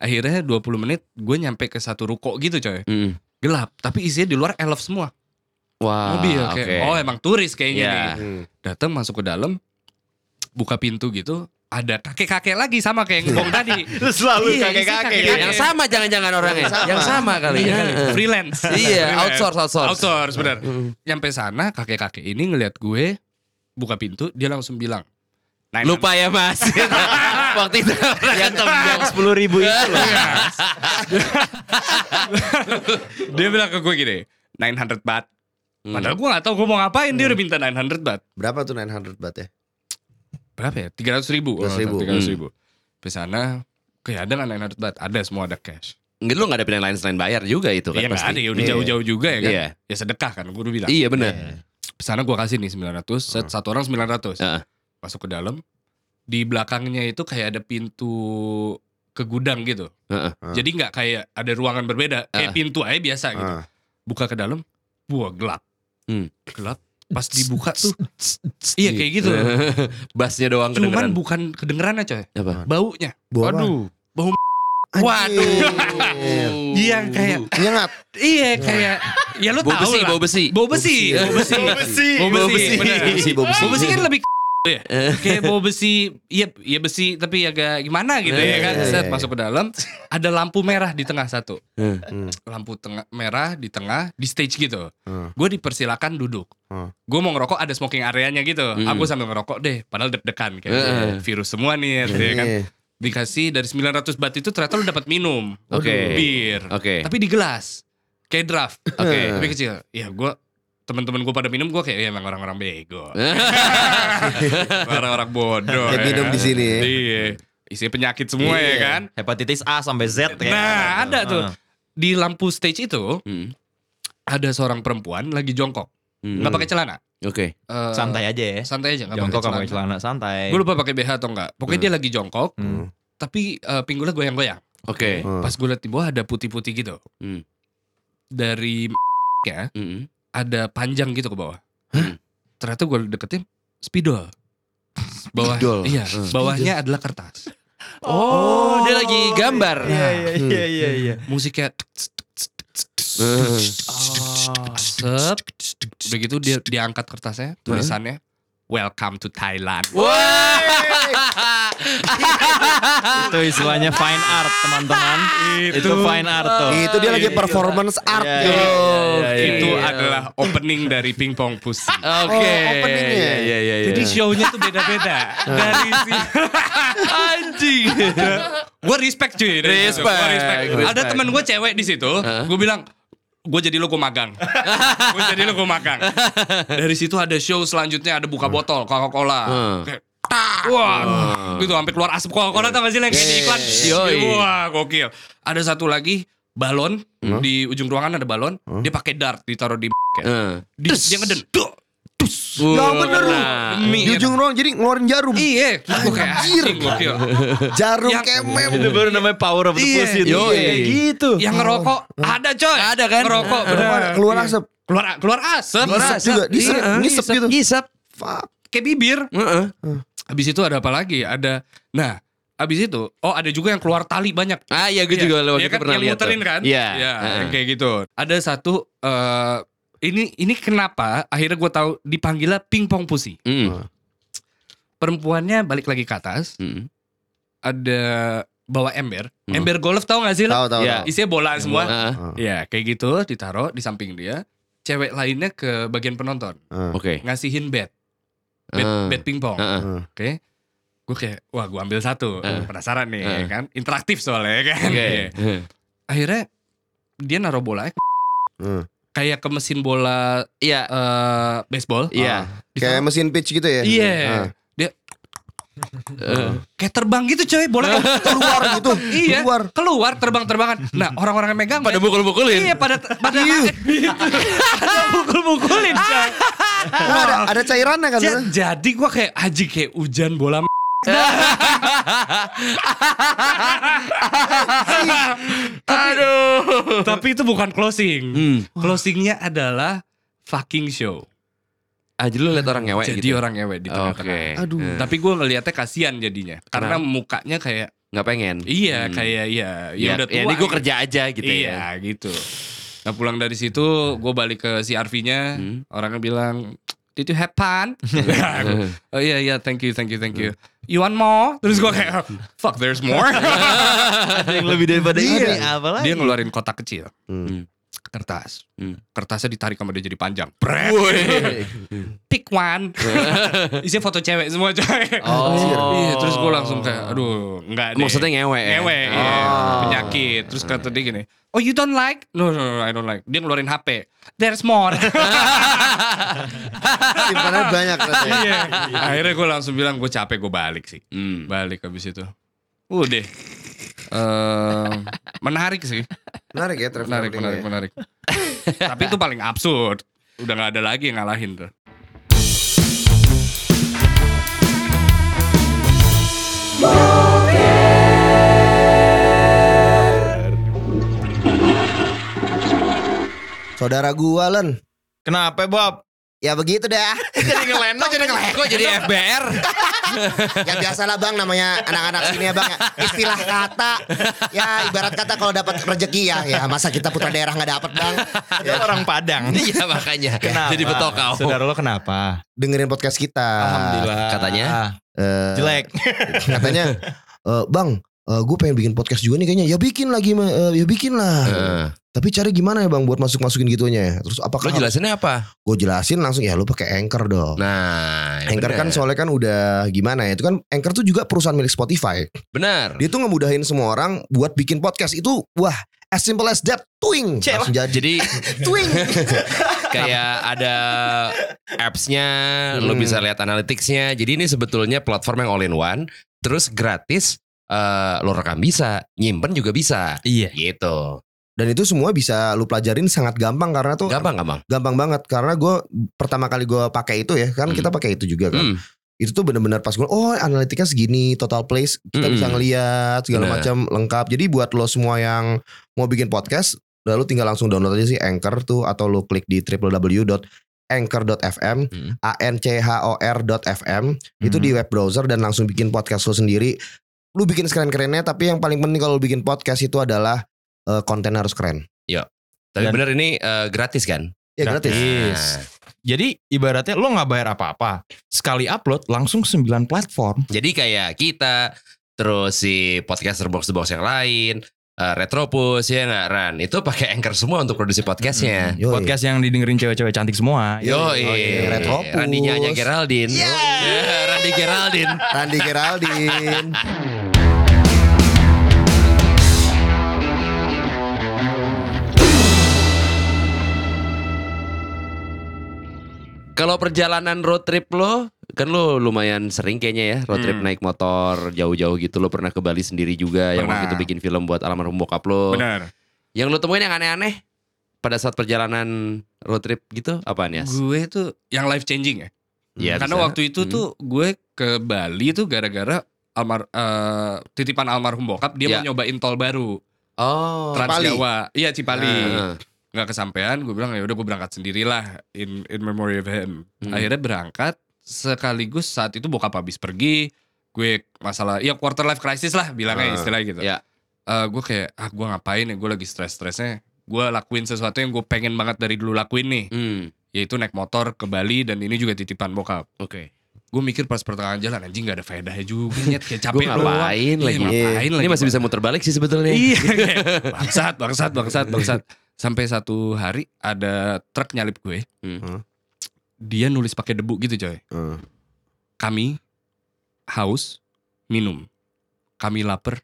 Akhirnya 20 menit gue nyampe ke satu ruko gitu coy.
Mm.
Gelap, tapi isinya di luar elf semua.
Wah.
Mobil
Ah, oke.
kayak oh emang turis kayaknya
Iya.
nih.
Hmm.
Datang masuk ke dalam buka pintu gitu ada kakek-kakek lagi sama kayak yang bong tadi.
Selalu
Iya,
kakek-kakek.
iya,
Yang sama jangan-jangan orangnya.
Yang sama.
Yang sama kali ya.
Iya, freelance.
Iya,
Freelance.
outsource, outsource.
Outsource, benar. Nyampe sana kakek-kakek ini ngelihat gue buka pintu, dia langsung bilang, "Nine
Lupa ya mas. Waktu itu
Iya,
yang
yang sepuluh ribu itu loh.
hundred." Dia bilang ke gue gini, 900 baht.
Mm.
Padahal gue gak tau gue mau ngapain, dia udah minta 900 baht.
Berapa tuh 900 baht ya?
Berapa ya? 300 ribu.
300 ribu.
300 ribu.
Mm.
Di sana, kayak ada gak 900 baht? Ada, semua ada cash.
Nggak, lu gak ada pilihan lain selain bayar juga itu kan
Iya gak ada,
pasti.
ya udah
Iya.
jauh-jauh juga ya kan.
Iya.
Ya sedekah kan, gue udah bilang.
Iya bener.
Di sana gue kasih nih 900, set- satu orang 900.
Heeh.
Masuk ke dalam, di belakangnya itu kayak ada pintu ke gudang gitu.
Heeh.
Jadi nggak kayak ada ruangan berbeda, kayak pintu aja biasa gitu.
Ah.
Buka ke dalam, wah gelap.
Hmm.
Gelap, pas dibuka tuh iya kayak gitu.
Basnya doang
Cuman
kedengeran.
bukan kedengerannya coy,
Apa?
baunya.
Bawa apa?
bau
Anjir.
Waduh.
Iya kayak
Nyengat.
iya kayak ya lu
Bau
tahu
besi,
lah.
bau besi. ya.
Bau besi, bau besi. Bau
Bau
besi,
besi.
bener.
Bau besi, bau besi.
Bau besi kan lebih k- ya. Kayak bau besi, iya iya besi tapi agak gimana gitu ya kan.
iya, iya,
Set
iya.
masuk ke dalam, ada lampu merah di tengah satu.
Heeh.
Lampu tengah merah di tengah di stage gitu.
Hmm.
Gue dipersilakan duduk.
Hmm.
Gue mau ngerokok ada smoking areanya gitu.
Hmm.
Aku sambil ngerokok deh, padahal deg-degan kayak gitu.
Heeh.
virus semua nih ya kan.
Iya.
Dikasih dari 900 bat itu ternyata lu dapat minum.
Oke.
Bir.
Oke.
Tapi di gelas. Kayak draft.
Oke.
Tapi kecil. Ya gue teman-teman gue pada minum gue kayak ya emang orang-orang bego.
Eh, Hmm.
orang-orang bodoh.
Yang minum di sini ya.
Iya. Isinya penyakit semua ya kan.
Hepatitis A sampai Z ya. kayak.
Nah, ada tuh.
Ah.
Di lampu stage itu
Hmm.
ada seorang perempuan lagi jongkok.
Hmm.
Nggak pakai celana.
Oke.
Eh,
Santai aja ya.
Santai aja nggak
Jongkok sama
pakai celana.
celana santai.
Gue lupa pakai BH atau enggak. Pokoknya dia lagi jongkok,
Hmm.
tapi eh, pinggulnya goyang-goyang.
Oke.
Hmm.
Pas gue liat di bawah ada putih-putih gitu.
Hmm.
Dari ya
Mm-mm.
ada panjang gitu ke bawah. Ternyata gue deketin spidol. Bawah,
Spidol.
iya, bawahnya adalah kertas.
Oh, dia lagi gambar.
Iya iya iya iya iya.
Musiknya
Eh.
sep. Udah gitu dia diangkat kertasnya, tulisannya Welcome to Thailand.
Wah.
Itu istilahnya fine art teman-teman. Itu, fine art tuh.
Itu dia
iya,
lagi performance art
Iya,
yo.
iya, iya, iya,
Itu
iya.
gitu adalah opening dari Pingpong Pussy.
Oke.
Oh, openingnya.
Iya, iya, iya. Nah.
Jadi show-nya tuh beda-beda. dari si anjing. gue respect cuy. dari situ. Gua
Respect, respect.
Ada teman gue cewek di situ, gue bilang gue jadi lo gue magang. gue jadi lo gue magang. Dari situ ada show selanjutnya ada buka botol Coca-Cola.
Hmm.
Kayak, tak, Wah, gitu sampai keluar asap Coca-Cola tau gak sih yang kayak di iklan.
Yoi.
Wah, gokil. Ada satu lagi balon di ujung ruangan ada balon, dia pakai dart ditaruh di
Eh.
di, dia ngeden. Duh, tus.
Ya bener lu.
Ah.
Demi
Di ujung ruang jadi ngeluarin jarum.
Iya, terus gue kayak
Anjir.
anjing gokil.
Jarum
Yang-
kemem.
Itu baru namanya power of the
Iya,
pussy. itu.
yoi.
Kayak gitu.
Yang ngerokok Iya. ada coy.
Ada kan?
Ngerokok
Ada.
bener.
Keluar asap.
Keluar keluar asap.
Ngisep juga. Ngisep,
Iya,
ngisep gitu.
Ngisep.
fuck.
kayak bibir.
Heeh.
Habis itu ada apa lagi? Ada nah, habis itu oh ada juga yang keluar tali banyak.
Ah iya gue
Iya,
juga waktu
iya
itu
kan,
pernah
yang
lihat. tuh.
muterin kan?
Iya.
Iya,
Heeh.
yang kayak gitu. Ada satu eh ini ini kenapa akhirnya gue tahu dipanggilnya pingpong pusi.
Mm.
Perempuannya balik lagi ke atas,
Mm.
ada bawa ember.
Hmm.
Ember golf tahu gak sih? lo?
Tahu tahu.
Iya.
tahu.
Isinya bola semua.
Ah,
Iya, kayak gitu ditaruh di samping dia. Cewek lainnya ke bagian penonton,
Heeh.
Oke.
ngasihin bet. Bet,
Ah.
bet pingpong.
Heeh.
Heeh.
Oke. Gue kayak, wah gue ambil satu.
Ah.
Penasaran nih,
Ah.
ya kan? Interaktif soalnya ya kan.
Oke.
Iya. Akhirnya dia naruh bola
Heeh.
kayak ke mesin bola
Iya.
eh, baseball.
Iya. Ah.
Kayak mesin pitch gitu ya?
Iya.
Heeh.
Dia
Heeh.
kayak terbang gitu coy, bola
Ah.
Keluar gitu.
iya,
Keluar.
keluar terbang-terbangan. Nah, orang-orang yang megang
Pada
men.
mukul-mukulin.
Iya,
Iya.
pada pada Pada mukul-mukulin. coy.
Nah, ada ada cairannya kan?
Ja- jadi gua kayak aji kayak hujan bola m****."
Aduh.
tapi itu bukan closing.
Hmm.
Closingnya adalah fucking show.
Ah jadi lu liat orang ngewe
jadi
gitu.
orang ngewe di tengah-tengah.
Oke.
Aduh.
Eh,
Tapi gua ngelihatnya kasihan jadinya karena mukanya kayak
nggak pengen.
iya
Hmm.
kayak ya ya, udah tua.
ini gue
gitu.
kerja aja gitu
iya,
ya.
gitu. Nah pulang dari situ gue balik ke CRV-nya,
Hmm.
orangnya bilang, did you have fun? Ya, gua, oh iya iya, thank you, thank you, thank
Hmm.
you. You want more? Terus gue kayak, fuck there's more.
Ada yang lebih daripada ini
Iya.
apa lagi?
Dia ngeluarin kotak kecil,
Hmm.
kertas.
Hmm.
Kertasnya ditarik sama dia jadi panjang. Bret. Pick one. Isinya foto cewek semua cewek.
Oh.
Iya, terus gue langsung kayak, aduh, enggak deh.
Maksudnya ngewe. ya?
ngewe
Oh.
iya. penyakit terus kata dia gini oh you don't like no no no I don't like dia ngeluarin HP there's more
Simpanannya banyak ternyata ya.
Iya. akhirnya gue langsung bilang gue capek gue balik sih
Hmm.
balik habis itu udah Eh, menarik sih
Menarik ya traveling.
menarik
iya.
menarik menarik tapi itu paling absurd udah nggak ada lagi yang ngalahin tuh
Saudara gua Len.
Kenapa Bob?
Ya begitu dah.
Jadi ngelenong. Kok jadi ngelenong? Kok jadi FBR?
ya biasalah bang namanya anak-anak sini ya bang ya. Istilah kata. Ya ibarat kata kalau dapat rezeki ya. Ya masa kita putra daerah nggak dapat bang.
Ada orang Padang.
Iya makanya.
Kenapa?
Jadi betokau.
Saudara lo kenapa?
Dengerin podcast kita.
Alhamdulillah.
katanya?
Eh,
jelek.
Katanya eh, bang eh, gue pengen bikin podcast juga nih kayaknya. Ya bikin lagi Ma. Eh, ya bikin lah.
Heeh.
Tapi cara gimana ya bang buat masuk-masukin gitunya ya. Terus
Lo
apakah
jelasinnya apa?
gue jelasin langsung ya lu pakai anchor dong.
Nah, ya
Anchor kan
bener.
soalnya kan udah gimana ya Itu kan Anchor tuh juga perusahaan milik Spotify
benar.
Dia tuh ngemudahin semua orang Buat bikin podcast itu Wah As simple as that Twing
Cek
Langsung jadi
Jadi
Twing
kayak ada apps-nya, lo
Hmm.
bisa lihat analytics-nya. Jadi ini sebetulnya platform yang all in one, terus gratis. eh lo rekam bisa, nyimpen juga bisa.
Iya.
Gitu.
Dan itu semua bisa lu pelajarin sangat gampang Karena tuh
Gampang gampang.
Gampang banget Karena gue Pertama kali gue pakai itu ya Kan
Hmm.
kita pakai itu juga kan
Hmm.
Itu tuh bener-bener pas gue Oh analitiknya segini Total plays Kita
Mm-mm.
bisa ngeliat Segala
Bener.
macam lengkap Jadi buat lo semua yang Mau bikin podcast Lalu tinggal langsung download aja sih Anchor tuh Atau lo klik di www.anchor.fm
Hmm.
a n c h o r.fm itu di web browser dan langsung bikin podcast lo sendiri. Lu bikin sekeren-kerennya tapi yang paling penting kalau lu bikin podcast itu adalah eh, konten harus keren.
Tapi
Dan-
benar ini eh, gratis kan?
Ya gratis.
Gratis.
Nah,
Jadi ibaratnya lo nggak bayar apa-apa. Sekali upload langsung 9 platform.
jadi kayak kita terus si podcaster box box yang lain, eh, Retropus ya nggak Ran. Itu pakai anchor semua untuk produksi podcastnya.
Yoi.
Podcast yang didengerin cewek-cewek cantik semua. ya.
Yoi.
Yo,
Yoi,
iya.
Retropus.
Randinya hanya Geraldine.
Yeah.
Yoi, Randy Geraldine.
Randy Geraldine.
Kalau perjalanan road trip lo, kan lo lumayan sering kayaknya ya road trip
Hmm.
naik motor jauh-jauh gitu. Lo pernah ke Bali sendiri juga yang waktu
Pernah.
itu bikin film buat almarhum bokap lo.
benar
Yang lo temuin yang aneh-aneh pada saat perjalanan road trip gitu apaan ya?
gue tuh yang life changing ya
Iya,
karena
bisa.
waktu itu
Hmm.
tuh gue ke Bali tuh gara-gara almar eh, titipan almarhum bokap dia
Ya.
mau nyobain tol baru
Oh, Ah.
Trans
Cipali.
Jawa iya Cipali
Heeh.
nggak kesampaian gue bilang ya udah gue berangkat sendirilah in in memory of him
Hmm.
akhirnya berangkat sekaligus saat itu bokap habis pergi, gue masalah ya quarter life crisis lah bilangnya
Ah,
istilah gitu.
ya.
Eh, gue kayak ah gue ngapain ya gue lagi stres-stresnya. Gue lakuin sesuatu yang gue pengen banget dari dulu lakuin nih,
Hmm.
yaitu naik motor ke Bali dan ini juga titipan bokap.
Oke.
Gue mikir pas pertengahan jalan anjing gak ada faedahnya juga, nyet kayak capek
Gue ngapain
doang.
lagi?
Iya, ngapain
Ini
lagi,
masih
Pak.
bisa muter balik sih sebetulnya.
Iya. kayak, bangsat, bangsat, bangsat, bangsat. Sampai satu hari ada truk nyalip gue.
Hmm.
Dia nulis pakai debu gitu coy.
Hmm.
Kami haus minum. Kami lapar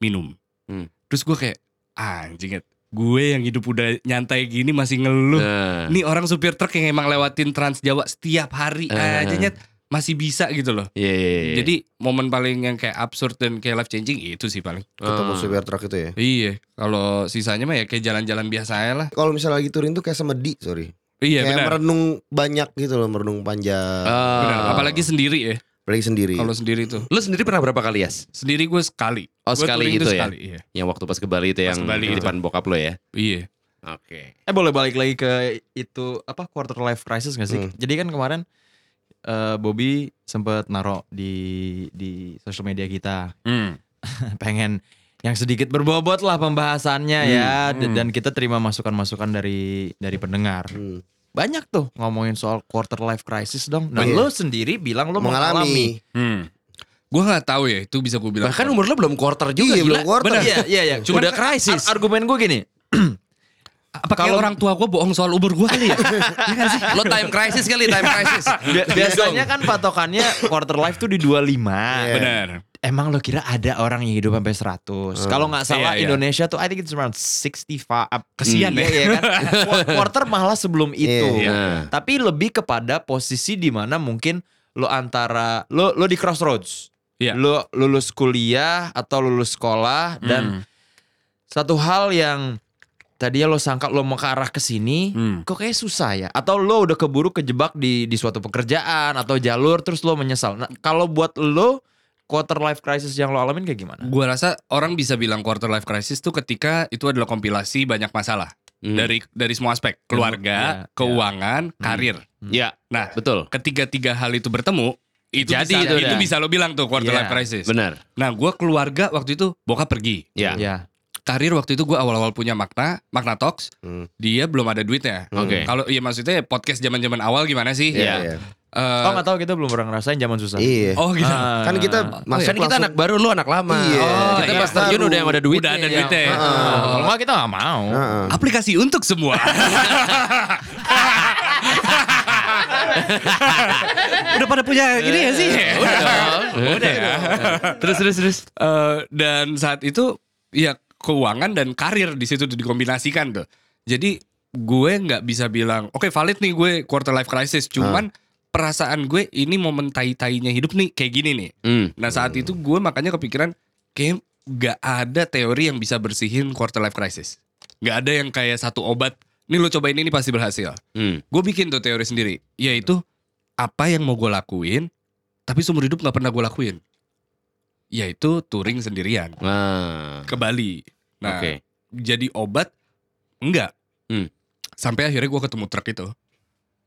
minum.
Hmm.
Terus gue kayak anjing Ed. Gue yang hidup udah nyantai gini masih ngeluh.
Nah.
Nih orang supir truk yang emang lewatin Trans Jawa setiap hari
Eh.
aja Nyet. masih bisa gitu loh.
Iya, iya, iya.
Jadi momen paling yang kayak absurd dan kayak life changing itu sih paling.
Ketemu
Ah.
supir truk itu ya.
Iya, kalau sisanya mah ya kayak jalan-jalan biasa aja lah.
Kalau misalnya lagi touring tuh kayak semedi, sorry.
Iya
kayak
benar.
merenung banyak gitu loh, merenung panjang.
Ah.
Benar, Apalagi sendiri ya.
Apalagi
Iya.
sendiri.
Kalau sendiri tuh.
lu sendiri pernah berapa kali Yas?
Sendiri gue sekali.
Oh,
Gua touring
sekali
tuh
gitu ya?
Sekali, iya.
Yang waktu pas ke Bali itu
Pas ke
yang
Bali
di
itu.
depan bokap lo ya?
Iya.
Oke.
Eh boleh balik lagi ke itu apa quarter life crisis gak sih?
Hmm.
Jadi kan kemarin eh, Bobby sempat naro di di sosial media kita
Hmm,
pengen yang sedikit berbobot lah pembahasannya ya D-
hmm.
dan kita terima masukan-masukan dari dari pendengar.
Hmm.
Banyak tuh ngomongin soal quarter life crisis dong. Dan
Iya.
lo sendiri bilang lo mengalami.
mengalami.
hmm. Gue nggak tahu ya itu bisa gue bilang.
Bahkan umur lo belum quarter juga
Iya,
gila.
belum quarter.
Benar.
Iya, iya, iya.
Udah
kan
krisis.
ar- argumen gue gini.
apa kalau orang tua gue bohong soal umur gue kali ya? Iya kan sih?
Lo time crisis kali, time crisis.
Ah.
Bi-
Iya
Biasanya kan patokannya quarter life tuh di 25.
Iya.
Benar.
Emang lo kira ada orang yang hidup sampai
Hmm.
100? Kalau nggak salah
Iya, iya.
Indonesia tuh I think it's around 65. up.
Kesian
Iya,
ya.
iya kan? Qu- Quarter malah sebelum itu.
Iya.
Tapi lebih kepada posisi di mana mungkin lo antara lo lo di crossroads.
Iya.
Lo lulus kuliah atau lulus sekolah dan
Dan
satu hal yang tadinya lo sangka lo mau ke arah ke sini
Hmm.
kok kayak susah ya atau lo udah keburu kejebak di di suatu pekerjaan atau jalur terus lo menyesal nah kalau buat lo quarter life crisis yang lo alamin kayak gimana
gue rasa orang bisa bilang quarter life crisis tuh ketika itu adalah kompilasi banyak masalah
Hmm.
dari dari semua aspek
Iya,
keluarga,
iya.
keuangan, karir.
Iya,
Nah,
betul.
ketiga-tiga hal itu bertemu itu
Jadi
bisa,
itu
itu,
udah.
bisa lo bilang tuh quarter
Iya,
life crisis.
Benar.
Nah, gue keluarga waktu itu bokap pergi.
Ya.
ya
Karir waktu itu gue awal-awal punya makna, makna talks.
Hmm.
Dia belum ada duitnya.
Oke.
Kalau iya maksudnya podcast zaman-zaman awal gimana sih?
Iya.
Iya.
Eh,
oh nggak tahu kita belum pernah ngerasain zaman susah
Iya.
oh gitu.
Ah.
Kan kita masuk
Kan kita
langsung-
anak baru, lo anak lama.
Iya.
Oh, kita
Iya.
pas terjun
Baru.
udah yang ada duit.
Udah ada duitnya. ya? Ah.
Ah, kalau nggak kita nggak mau
Heeh.
Aplikasi untuk semua. Udah pada punya ini ya sih?
Udah Nah. dong.
Udah ya.
Terus, terus, terus.
Eh, dan saat itu ya keuangan dan karir di situ dikombinasikan tuh. Jadi gue nggak bisa bilang, oke valid nih gue quarter life crisis. Cuman perasaan gue ini momen tai-tainya hidup nih kayak gini nih.
Hmm.
Nah saat itu gue makanya kepikiran kayak nggak ada teori yang bisa bersihin quarter life crisis. Nggak ada yang kayak satu obat. Nih lo cobain ini pasti berhasil.
Hmm.
Gue bikin tuh teori sendiri. Yaitu apa yang mau gue lakuin tapi seumur hidup nggak pernah gue lakuin. Yaitu touring sendirian
Nah.
ke Bali. Nah,
Oke.
jadi obat enggak.
Hmm.
Sampai akhirnya gua ketemu truk itu.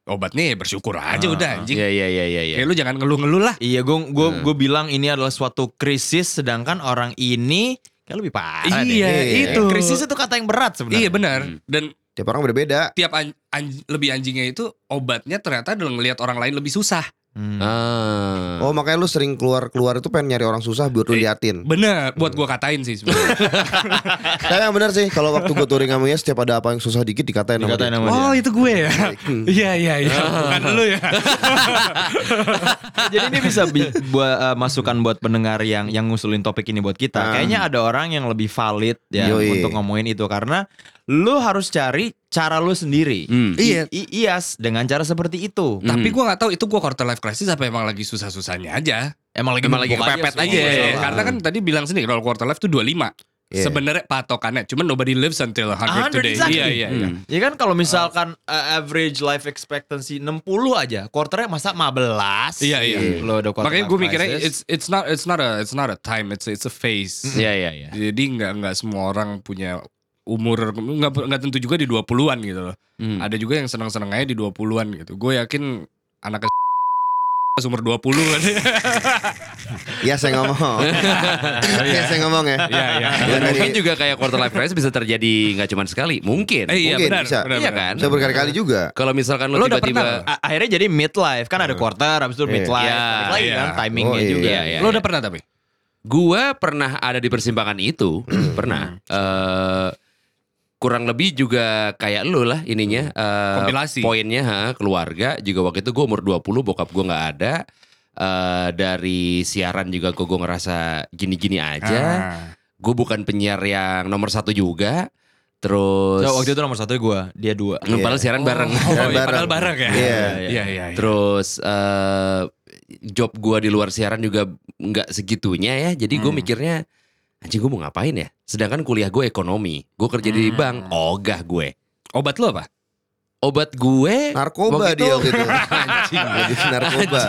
Obatnya ya bersyukur aja
Ah,
udah anjing.
Iya, iya, iya, iya. iya.
Kayak lu jangan ngeluh-ngeluh lah.
iya gue gue
Hmm.
gue bilang ini adalah suatu krisis sedangkan orang ini kayak lebih parah deh.
Iya, itu.
krisis itu kata yang berat sebenarnya
Iya benar.
Hmm.
Dan
Tiap orang beda-beda.
tiap an- anj- lebih anjingnya itu obatnya ternyata adalah ngelihat orang lain lebih susah.
Hmm.
Ah.
Oh makanya lu sering keluar-keluar itu pengen nyari orang susah buat lu
Eh.
liatin.
Bener, buat gua katain sih sebenarnya.
Tapi yang benar sih kalau waktu gue touring sama Yes setiap ada apa yang susah dikit dikatain sama Hmm.
Dikatain
dia.
Oh,
sama dia.
itu gue ya. Iya iya iya.
Ah.
Bukan lu ya.
Jadi ini bisa bi- buat eh, masukan buat pendengar yang yang ngusulin topik ini buat kita.
Ah.
Hmm.
Kayaknya ada orang yang lebih valid ya
Yoi.
untuk ngomongin itu karena lu harus cari cara lu sendiri.
Hmm.
Iya.
I- i- Ias dengan cara seperti itu.
Hmm.
Tapi gua nggak tahu itu gua quarter life crisis apa emang lagi susah-susahnya aja.
Emang lagi
Emang lagi
membuka
kepepet
semua
aja ya,
Iya,
masalah.
karena kan tadi bilang sendiri kalau quarter life tuh 25.
Iya.
Sebenarnya patokannya cuman nobody lives until
100
100, today.
Ah, exactly.
Iya iya iya.
Hmm.
Ya kan kalau misalkan uh, average life expectancy 60 aja, quarternya masa 15.
Iya, iya.
Lo udah quarter
Makanya
life
gue mikirnya
crisis. Hmm.
it's it's not it's not a it's not a time, it's it's a phase.
Iya, iya, iya.
Jadi nggak nggak semua orang punya umur nggak nggak tentu juga di 20-an gitu loh.
Hmm.
Ada juga yang senang-senang aja di 20-an gitu. Gue yakin anak pas umur 20 kan.
Ya saya ngomong. ya saya ngomong ya.
Iya, iya.
Ya, dari-
mungkin juga kayak quarter life crisis bisa terjadi nggak cuma sekali, mungkin.
Eh, iya
Mungkin
benar,
bisa.
benar,
Iya
benar.
kan?
Bisa berkali-kali juga.
Kalau misalkan lo,
Lo udah
tiba-tiba
A- akhirnya jadi midlife kan ada quarter habis itu
Iya.
midlife
Iya,
balik lagi
iya.
kan timingnya
Oh, iya.
juga
Iya, iya.
kan? Lo udah pernah tapi?
Gua pernah ada di persimpangan itu, pernah. Eh kurang lebih juga kayak lu lah ininya. eh,
Kompilasi.
Poinnya ha, keluarga juga waktu itu gue umur 20 bokap gue nggak ada. Eh dari siaran juga gue gue ngerasa gini-gini aja.
Ah.
Gue bukan penyiar yang nomor satu juga. Terus
So, waktu itu nomor satu gua dia dua
Hmm, padahal siaran bareng.
Oh,
Siaran
iya,
bareng.
padahal bareng ya.
Iya.
Iya, iya. iya.
Terus eh job gua di luar siaran juga nggak segitunya ya. Jadi gue
Hmm.
mikirnya anjing gue mau ngapain ya? Sedangkan kuliah gue ekonomi, gue kerja di
Hmm.
bank, ogah gue.
Obat lo apa?
Obat gue
Narkoba
waktu
dia
itu-
waktu itu. Anjing, lagi narkoba.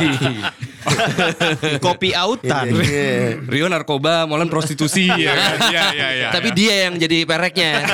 kopi autan
Iya.
Rio narkoba, Molen prostitusi ya kan? Iya, iya, iya.
Tapi dia yang jadi pereknya.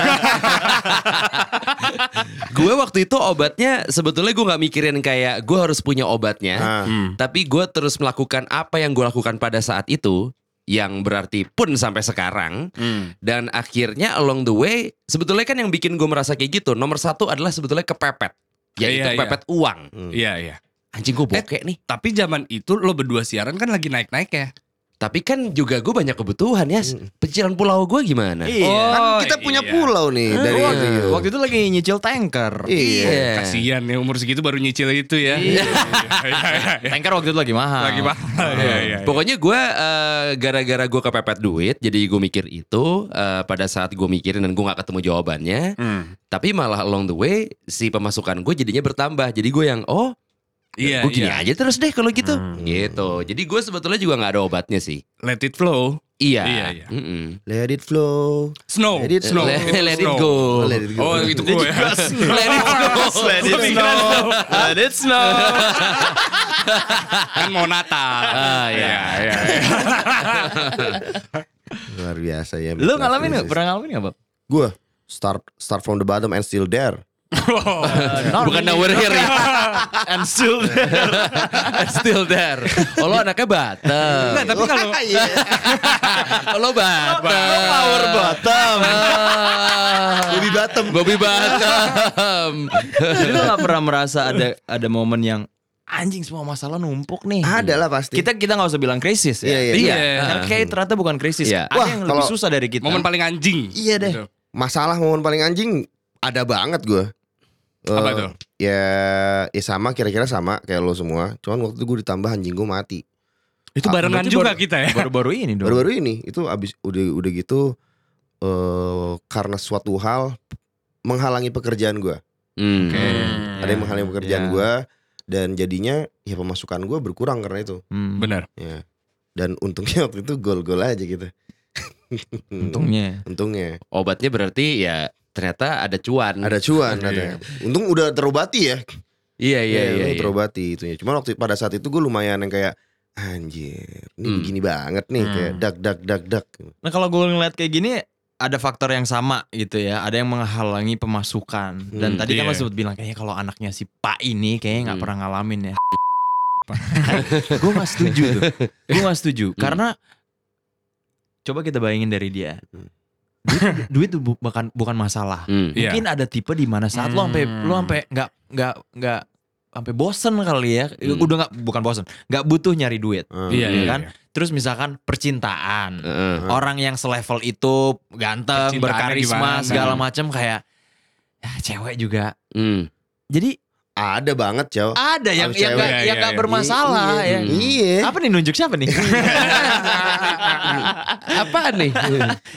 gue waktu itu obatnya sebetulnya gue nggak mikirin kayak gue harus punya obatnya.
Ah.
Tapi gue terus melakukan apa yang gue lakukan pada saat itu, yang berarti pun sampai sekarang.
Hmm.
Dan akhirnya along the way, sebetulnya kan yang bikin gue merasa kayak gitu, nomor satu adalah sebetulnya kepepet. Yaitu
Iya, iya.
kepepet uang.
Iya, iya.
Anjing gue bokeh nih.
Tapi zaman itu lo berdua siaran kan lagi naik-naik ya.
Tapi kan juga gue banyak kebutuhan ya.
Hmm.
Pencicilan pulau gue gimana?
iya Ah. Oh,
Kan kita punya pulau nih dari
Iya.
itu.
waktu itu lagi nyicil tanker
Iya.
Kasihan ya umur segitu baru nyicil itu ya. Iya, iya, iya, iya.
tanker waktu itu lagi mahal
Lagi mahal. Iya, iya. iya.
Pokoknya gue eh, gara-gara gue kepepet duit, jadi gue mikir itu eh, pada saat gue mikirin dan gue nggak ketemu jawabannya.
Hmm.
Tapi malah along the way si pemasukan gue jadinya bertambah. Jadi gue yang oh
Iya,
gue gini
iya. Hmm.
aja terus deh kalau gitu. Gitu. Jadi gue sebetulnya juga nggak ada obatnya sih.
Let it flow.
Iya.
Iya, iya.
Mm-mm.
Let it flow.
Snow.
Let it-
snow.
let, let it
Snow.
go.
Let it go.
Oh, itu gue ya.
Let it go.
Let it snow. Let it snow.
kan mau Natal.
Ah, iya.
iya.
Luar biasa ya.
Lu ngalamin nggak? Pernah ngalamin nggak, Bab?
Gue start start from the bottom and still there.
Eh,
Bukan
Iya.
nowhere here ya.
And still there.
Still there. Oh lo anaknya Batam.
Enggak, Nah, tapi kalau
Iya.
Oh, lo Batam.
Power bottom.
Bobby Bottom.
Bobby Batam.
Jadi lu nggak pernah merasa ada ada momen yang anjing semua masalah numpuk nih.
Ada lah pasti.
Kita kita nggak usah bilang krisis ya.
Iya, iya.
Iya.
Karena kayak ternyata bukan krisis.
Iya.
Ada
Wah,
yang lebih
kalau-
susah dari kita.
momen paling anjing.
Iya deh.
Gitu.
Masalah momen paling anjing ada banget gue. Eh,
Apa tuh?
Ya, ya sama kira-kira sama kayak lo semua. Cuman waktu itu gue ditambah anjing gue mati. Ah,
Itu barengan
berarti
juga
baru-
kita ya.
baru-baru ini dong.
Baru-baru ini itu abis udah udah gitu eh karena suatu hal menghalangi pekerjaan gue.
Hmm.
Hmm.
Ada yang menghalangi pekerjaan
Iya.
gue dan jadinya ya pemasukan gue berkurang karena itu.
Hmm,
Benar.
Ya. Dan untungnya waktu itu gol-gol aja gitu.
Untungnya.
Untungnya
Obatnya berarti ya ternyata ada cuan.
ada cuan, ada. Iya. Untung udah terobati ya.
Iya iya
Iya,
iya.
lu
iya.
terobati itunya. Cuman waktu pada saat itu gue lumayan yang kayak anjir, ini
Hmm.
begini banget nih
Hmm.
kayak dak dak dak dak.
Nah kalau gue ngeliat kayak gini ada faktor yang sama gitu ya, ada yang menghalangi pemasukan. Dan
Hmm,
tadi kan
iya.
lo sempat bilang kayaknya kalau anaknya si Pak ini kayaknya nggak
Hmm.
pernah ngalamin ya. gue nggak setuju tuh, gue nggak setuju
Hmm.
karena coba kita bayangin dari dia,
Hmm.
duit, duit tuh bu- bukan bukan masalah.
Hmm.
Iya.
Mungkin ada tipe di mana saat lo sampai
Hmm.
lo sampai nggak nggak nggak sampai bosen kali ya,
Hmm.
udah nggak bukan bosen, nggak butuh nyari duit.
Hmm.
Iya, iya,
kan?
iya.
Terus misalkan percintaan,
Heeh.
Heeh.
orang yang selevel itu ganteng,
Kecintaannya
berkarisma
gimana?
segala macam kayak ya, cewek juga.
Hmm.
Jadi
Ada banget, Jawa.
ada yang
Harus
yang gak,
cewek,
ya,
yang
ya,
nggak
ya.
bermasalah
Iya.
ya.
Iya.
Apa nih nunjuk siapa nih?
Apaan nih?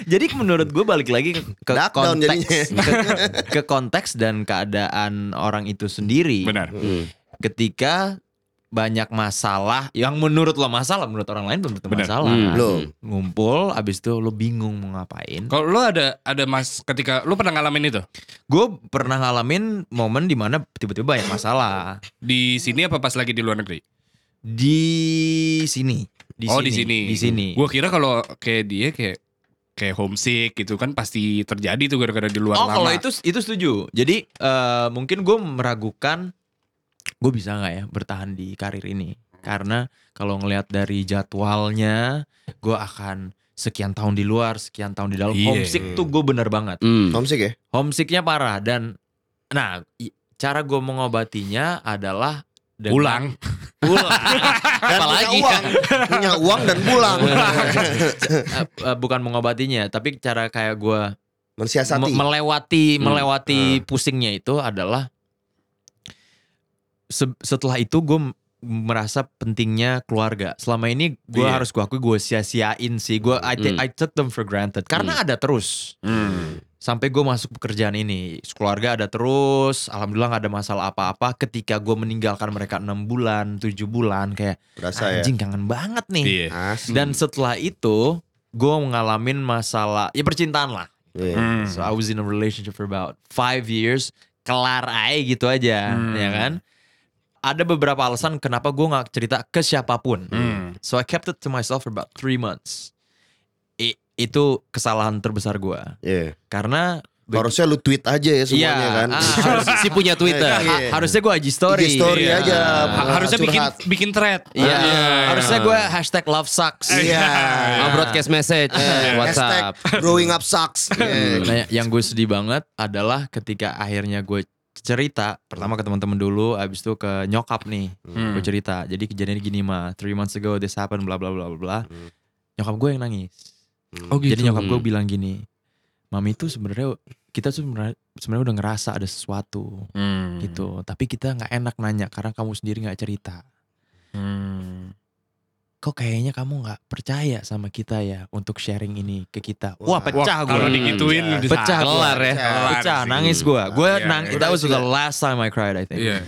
Jadi menurut gue balik lagi ke, ke
Dark down
konteks,
jadinya.
ke, ke konteks dan keadaan orang itu sendiri.
Benar.
Hmm.
Ketika banyak masalah yang menurut lo masalah, menurut orang lain belum tentu
Benar.
masalah.
Hmm.
Belum.
Ngumpul, abis itu lo bingung mau ngapain.
Kalau lo ada ada mas ketika lo pernah ngalamin itu
Gue pernah ngalamin momen dimana tiba-tiba banyak masalah.
di sini apa pas lagi di luar negeri?
di sini. Di
oh
sini.
di sini.
Di sini.
Gue kira kalau kayak dia kayak kayak homesick gitu kan pasti terjadi tuh gara-gara di luar
oh
lama.
kalau itu itu setuju. Jadi eh, mungkin gue meragukan gue bisa nggak ya bertahan di karir ini. Karena kalau ngelihat dari jadwalnya, gue akan sekian tahun di luar, sekian tahun di dalam.
Iya.
Homesick tuh gue bener banget.
Hmm.
Homesick ya?
Homesicknya parah dan, nah i- cara gue mengobatinya adalah dengan-
Pulang.
Pulang.
Dan
Apalagi?
punya uang, punya uang dan pulang.
Eh, eh, Bukan mengobatinya, tapi cara kayak gue
Mensiasati.
Me- melewati
Hmm.
melewati pusingnya itu adalah se- setelah itu gue merasa pentingnya keluarga. Selama ini gue
Iya.
harus gue akui gue sia-siain sih. Gue I, take- I took them for granted karena ada terus. Sampai gue masuk pekerjaan ini, keluarga ada terus. Alhamdulillah gak ada masalah apa-apa. Ketika gue meninggalkan mereka enam bulan, tujuh bulan, kayak
Berasa ya.
anjing kangen banget nih.
Iya.
Asli.
Dan setelah itu gue mengalami masalah ya percintaan lah.
Iya,
Hmm.
So I was in a relationship for about five years. Kelar aja gitu aja, ya kan? Ada beberapa alasan kenapa gue nggak cerita ke siapapun. So I kept it to myself for about three months. I- itu kesalahan terbesar gue.
Iya.
Karena
Harusnya lu tweet aja ya semuanya
Iya,
kan.
ah,
Harus si punya Twitter.
Iya.
ha- harusnya gue IG story.
IG story
Iya.
aja.
Ha- harusnya bikin
Curhat.
bikin thread.
Iya.
Ah, iya, iya.
Harusnya gue hashtag love sucks.
Iya.
Ah, broadcast message,
Eh,
WhatsApp.
Hashtag growing up sucks. Eh,
Nah, yang gue sedih banget adalah ketika akhirnya gue cerita pertama ke teman-teman dulu, abis itu ke nyokap nih,
Hmm.
gue cerita. Jadi kejadian gini mah, three months ago this happened, bla bla bla bla bla. Nyokap gue yang nangis.
Oh gitu.
Jadi nyokap
Hmm.
gue bilang gini, mami itu sebenarnya kita tuh sebenarnya- sebenarnya udah ngerasa ada sesuatu gitu, tapi kita nggak enak nanya karena kamu sendiri nggak cerita. Kok kayaknya kamu nggak percaya sama kita ya untuk sharing ini ke kita? Wah,
Wah,
pecah gue.
Kalau digituin
Iya.
bisa.
Pecah gua.
Kelar ya.
Kelar
pecah
sih.
nangis gue gue
Iya,
nang
iya.
that was the last time I cried I think
Iya.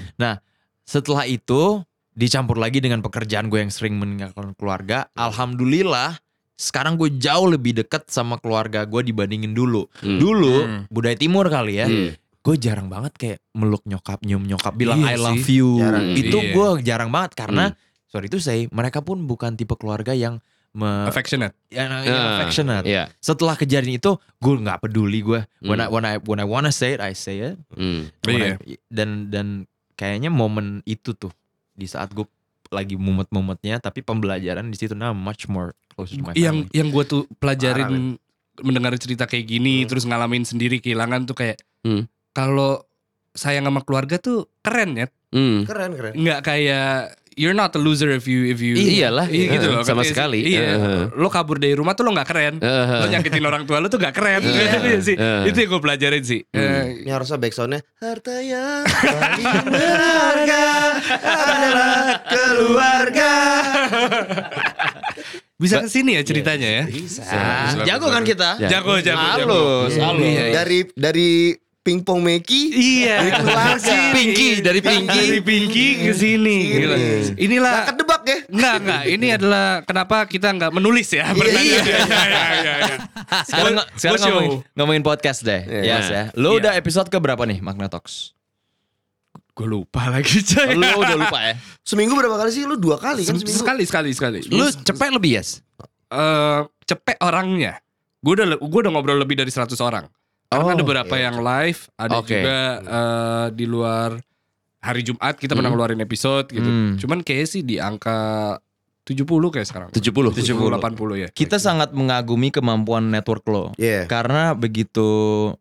setelah itu dicampur lagi dengan pekerjaan gue yang sering meninggalkan keluarga alhamdulillah sekarang gue jauh lebih dekat sama keluarga gue dibandingin dulu
Hmm.
dulu
Hmm.
budaya timur kali ya
Hmm.
gue jarang banget kayak meluk nyokap nyium nyokap bilang
Iya
I love
sih.
you
Jarang.
itu
Iya.
gue jarang banget
Hmm.
karena sorry itu saya mereka pun bukan tipe keluarga yang me-
Affectionate.
yang, yang
Ah,
affectionate
Iya.
setelah kejadian itu gue nggak peduli gue when I
Hmm.
when I when I wanna say it I say it
Hmm.
When
Iya.
I- dan dan kayaknya momen itu tuh di saat gue lagi mumet-mumetnya tapi pembelajaran di situ nah much more close to my
Yang
family.
yang gue tuh
Parah,
pelajarin mendengar cerita kayak
Hmm.
gini terus ngalamin sendiri kehilangan tuh kayak
Hmm.
kalau sayang sama keluarga tuh keren ya.
Hmm.
Keren keren.
Nggak kayak you're not a loser if you if you
Iyalah,
Iya gitu
eh,
loh.
sama
Iya sih.
sekali.
Iya.
Eh.
Lo kabur dari rumah tuh lo nggak keren.
Eh,
Lo nyakitin orang tua lo tuh nggak keren.
Iya.
Iya sih.
Eh.
Itu yang gue pelajarin sih. Eh,
Ini harusnya backsoundnya Harta yang paling berharga adalah keluarga
Bisa ke sini ya ceritanya ya.
Ah,
Bisa.
jago kan kita
Ya.
Jago jago. jago.
halus halus
Iya, iya.
Dari dari pingpong Meki
Iya.
keluarga.
Pinky dari Pinky. Dari Pinky Hmm. ke sini. Gila. Inilah
Gak kedebak ya
Enggak, enggak. Ini adalah kenapa kita enggak menulis ya. Iya, iya, iya, iya.
sekarang
Gua-
sekarang
gua show.
ngomongin, ngomongin podcast deh
Iya.
Yes, ya lo
Iya.
udah episode ke berapa nih Magna Talks
Gue lupa lagi, Coy.
lo udah lupa ya
Seminggu berapa kali sih? Lu dua kali kan
Se-
seminggu
Sekali, sekali, sekali.
Lu cepet lebih yes?
eh cepet orangnya. Gue udah gue udah ngobrol lebih dari 100 orang. Karena
Oh.
ada beberapa yang live, ada
Oke.
juga eh, di luar hari Jumat kita pernah ngeluarin episode gitu.
Hmm.
Cuman kayaknya sih di angka 70 kayak sekarang.
70.
70 80 ya.
kita sangat mengagumi kemampuan network lo
Iya
karena begitu